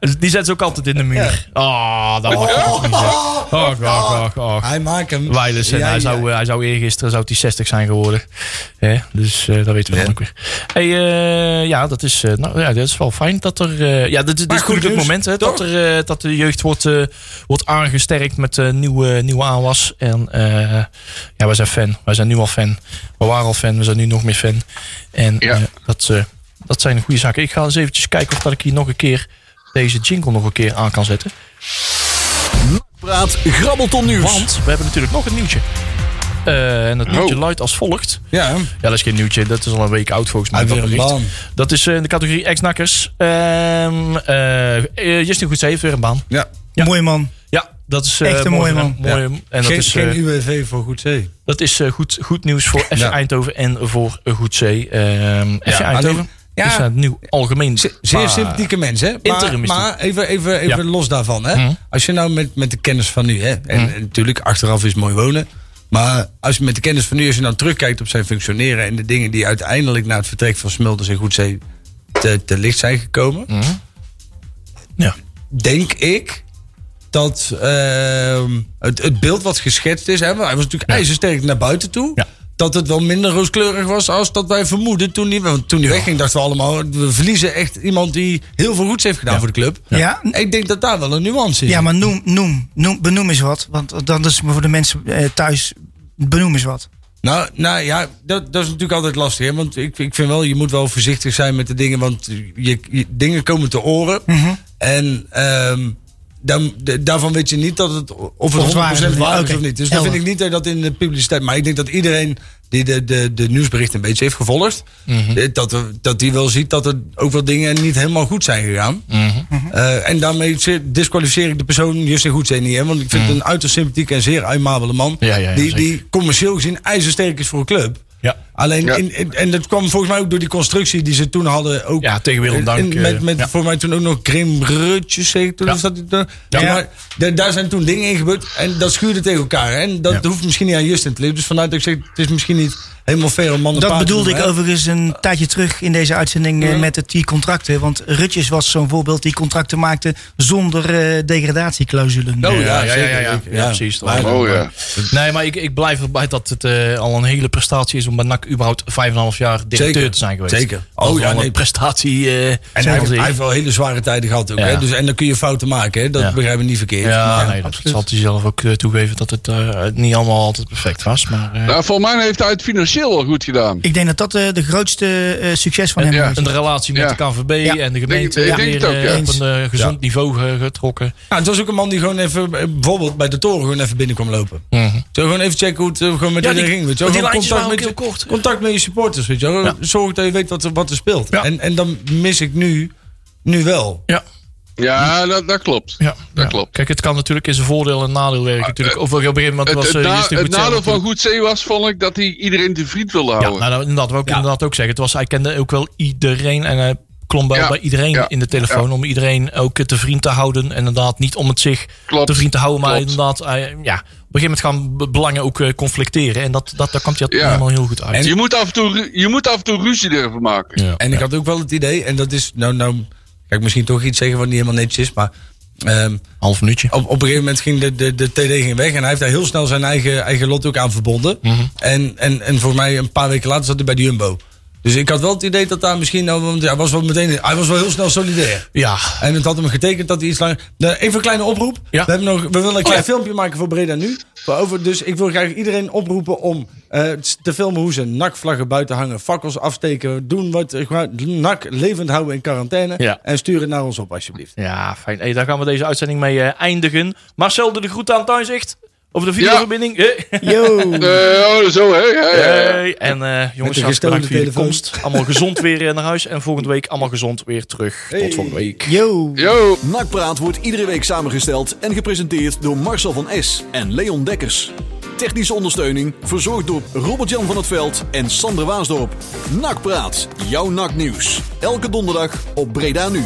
B: eh, die zet ze ook altijd in de muur. Ah, dat mag ik toch niet Oh, zeggen.
C: Oh,
B: Och, och, och, och.
C: Hij maakt hem.
B: Weiles, en
C: Ja,
B: hij,
C: ja.
B: zou, eh, hij zou eergisteren zou die 60 zijn geworden. Hè, dus eh, dat weten we dan ook weer. Hey, eh, ja, dat is, eh, nou, ja, dat is wel fijn dat er... eh, ja, dit, dit is
C: goed
B: natuurlijk het
C: nieuws,
B: moment hè, dat,
C: toch?
B: er, eh, dat de jeugd wordt, eh, wordt aangesterkt met eh, nieuwe, nieuwe aanwas. En eh, ja, wij zijn fan. Wij zijn nu al fan. We waren al fan. We zijn nu nog meer fan. En
F: Ja.
B: eh, dat, eh, dat zijn goede zaken. Ik ga eens eventjes kijken of dat ik hier nog een keer deze jingle nog een keer aan kan zetten.
A: Praat Grabbelton Nieuws.
B: Want we hebben natuurlijk nog een nieuwtje. Eh, en het nieuwtje
C: Oh.
B: luidt als volgt.
C: Ja,
B: Ja, dat is geen nieuwtje. Dat is al een week oud volgens mij.
C: Uit
B: dat
C: weer een
B: bericht.
C: baan.
B: Dat is eh, in de categorie ex-nakkers. Ehm eh eh, Justin Goedzee heeft weer een baan.
C: ja.
D: Mooi man.
B: Ja, dat is... eh,
D: Echt een
B: mooi
D: mooie
B: gedaan. Mooi, En dat
C: Geen,
B: is, eh,
C: geen UWV voor goed zee.
B: dat is eh, goed, goed nieuws voor FC
C: Ja.
B: Eindhoven en voor eh, Goedzee. Ehm FC Eindhoven
C: alleen- ja.
B: is een nieuw algemeen...
C: Ze- Zeer
B: maar-
C: sympathieke mens, hè? Maar,
B: Interim is
C: maar even, even, even
B: Ja.
C: los daarvan, hè?
B: Mhm.
C: Als je nou met, met de kennis van nu, hè? En,
B: Hmm?
C: en natuurlijk, achteraf is mooi wonen. Maar als je met de kennis van nu, als je nou terugkijkt op zijn functioneren... en de dingen die uiteindelijk na het vertrek van Smulders en Goedzee te, te licht zijn gekomen...
B: Hmm. Ja.
C: denk ik dat ehm, het, het beeld wat geschetst is... Hè, want hij was natuurlijk ijzersterk naar buiten toe...
B: Ja.
C: Dat het wel minder rooskleurig was als dat wij vermoeden toen hij, want toen hij wegging. Dachten we allemaal, we verliezen echt iemand die heel veel goeds heeft gedaan voor de club.
D: Ja.
C: Ik denk dat daar wel een nuance in
D: Ja,
C: zit.
D: maar noem, noem, noem, benoem eens wat. Want dan is voor de mensen eh, thuis, benoem eens wat.
C: Nou, nou ja, dat, dat is natuurlijk altijd lastig. Hè? Want ik, ik vind wel, je moet wel voorzichtig zijn met de dingen. Want je, je- dingen komen te oren. En ehm, dan, de- daarvan weet je niet dat het, of het 100%
D: het waar is
C: waar is,
D: of niet. Oké,
C: of niet. Dus dan
D: helder.
C: vind ik niet dat je dat in de publiciteit... Maar ik denk dat iedereen die de, de, de nieuwsberichten een beetje heeft gevolgd... eh, dat, er- dat die wel ziet dat er ook wel dingen niet helemaal goed zijn gegaan. Eh, en daarmee zeer- disqualificeer ik de persoon Justin Goedzee niet. Hè? Want ik vind het een uiterst sympathieke en zeer aimabele man.
B: Ja, ja, ja,
C: die,
B: zeker.
C: die commercieel gezien ijzersterk is voor een club.
B: Ja.
C: Alleen,
F: Ja.
C: in- in- en dat kwam volgens mij ook door die constructie die ze toen hadden. Ook,
B: Ja, tegen Willem
C: in-
B: Dank,
C: in-
B: eh,
C: Met, met
B: ja.
C: voor mij toen ook nog crème rutjes, zeg ik toen.
B: Ja.
C: of zat die toen-
B: Ja.
C: Maar da- daar zijn toen dingen in gebeurd en dat schuurde tegen elkaar. hè. En dat
B: Ja.
C: hoeft misschien niet aan Justin te liggen. Dus vanuit dat ik zeg, het is misschien niet helemaal fair om mannen
D: Dat bedoelde ik overigens een tijdje terug in deze uitzending eh, met het, die contracten. Want Rutjes was zo'n voorbeeld die contracten maakte zonder eh, degradatieclausulen.
C: Oh, ja,
B: ja,
C: zeker,
B: ja, ja.
C: zeker.
B: Ja, precies.
C: Maar-
B: Dat-
F: oh ja.
B: Nee, maar ik, ik blijf erbij dat het eh, al een hele prestatie is om bij NAC überhaupt 5,5 jaar directeur
C: Zeker,
B: te zijn geweest.
C: zeker.
B: Dat
C: Oh,
B: is
C: ja,
B: al een
C: nee.
B: prestatie. eh,
C: En hij,
B: zoals
C: hij
B: ik.
C: heeft wel hele zware tijden gehad ook.
B: Ja.
C: Hè? Dus, en dan kun je fouten maken, hè? dat
B: Ja.
C: begrijp ik niet verkeerd.
B: ja,
C: Maar-
B: nee, dat zal hij zelf ook eh, toegeven dat het eh, niet allemaal altijd perfect was. Maar, eh,
F: Nou, volgens mij heeft hij het financieel wel goed gedaan.
D: Ik denk dat dat eh, de grootste eh, succes van
B: en,
D: hem
F: ja.
D: was.
B: en de relatie met
F: Ja.
B: de KVB
D: Ja.
B: en de gemeente
F: Denk-
B: weer
F: ik denk het ook,
B: eh,
F: ja.
B: op een eh, gezond niveau ge- getrokken.
C: Ja, Nou, het was ook een man die gewoon even, eh, bijvoorbeeld bij de toren, gewoon even binnen kwam lopen. Zo gewoon even checken hoe het eh, gewoon met
B: Ja,
C: iedereen
B: die-
C: ging. Weet je,
B: want die
C: wel. Gewoon
B: lijntjes waren
C: met
B: ook
C: je-
B: heel kort.
C: Contact met je supporters, weet je wel.
B: Ja.
C: Zorg dat je weet wat er, wat er speelt.
B: Ja.
C: En, en dan mis ik nu, nu wel.
B: Ja.
F: Ja, dat, dat klopt.
B: Ja,
F: Dat
B: ja.
F: klopt.
B: Kijk, het kan natuurlijk in zijn voordeel en nadeel werken. natuurlijk. Of op een gegeven moment
F: Het,
B: was
F: het,
B: eh,
F: na-
B: Justin
F: het
B: Goetzel
F: nadeel
B: natuurlijk-
F: van Goedzee was, vond ik, dat hij iedereen te vriend wilde
B: Ja,
F: houden.
B: nou, dat- dat wil ik inderdaad ook zeggen. Het was, hij kende ook wel iedereen en hij klom wel
F: Ja,
B: bij iedereen
F: ja,
B: in de telefoon om iedereen ook eh, te vriend te houden. En inderdaad niet om het zich
F: Klopt,
B: te vriend te houden, maar
F: klopt.
B: inderdaad, hij, ja, op een gegeven moment gaan be- belangen ook eh, conflicteren. En dat, dat, daar komt hij
F: Ja.
B: helemaal heel goed uit.
C: En-
F: je, moet af en toe, ru- je moet af en toe ruzie durven maken.
B: ja.
C: En ik had ook wel het idee, en dat is, nou, nou, ga ik misschien toch iets zeggen wat niet helemaal netjes is, maar... ehm,
B: Half minuutje.
C: op, op een gegeven moment ging de, de, de TD ging weg en hij heeft daar heel snel zijn eigen, eigen lot ook aan verbonden.
B: Mhm.
C: En, en, en volgens mij een paar weken later zat hij bij de Jumbo. Dus ik had wel het idee dat daar misschien, nou, want hij was wel meteen, hij was wel heel snel solidair.
B: Ja.
C: En het had hem getekend dat hij iets langer. Nou, even een kleine oproep.
B: Ja. Oh
C: We, hebben nog, we willen een klein
B: ja.
C: filmpje maken voor Breda nu. Maar Over, dus ik wil graag iedereen oproepen om eh, te filmen hoe ze nakvlaggen buiten hangen, fakkels afsteken, doen wat eh, gewoon nak levend houden in quarantaine.
B: Ja.
C: En stuur het naar ons op alsjeblieft.
B: Ja, fijn. Hey, daar gaan we deze uitzending mee eh, eindigen. Marcel, doe de groet aan Tuinzicht. Over de videoverbinding. Eh,
D: Yo.
F: Eh, oh, zo, hè? Ja, ja, ja.
B: eh, En eh, jongens,
C: de
B: hartelijk bedankt voor jullie
C: gestolen
B: komst. Allemaal gezond weer eh, naar huis. En volgende week allemaal gezond weer terug. Tot volgende week.
D: Yo.
F: Yo.
A: Nakpraat wordt iedere week samengesteld en gepresenteerd door Marcel van S en Leon Dekkers. Technische ondersteuning verzorgd door Robert-Jan van het Veld en Sander Waasdorp. Nakpraat, jouw naknieuws. Elke donderdag op Breda Nu.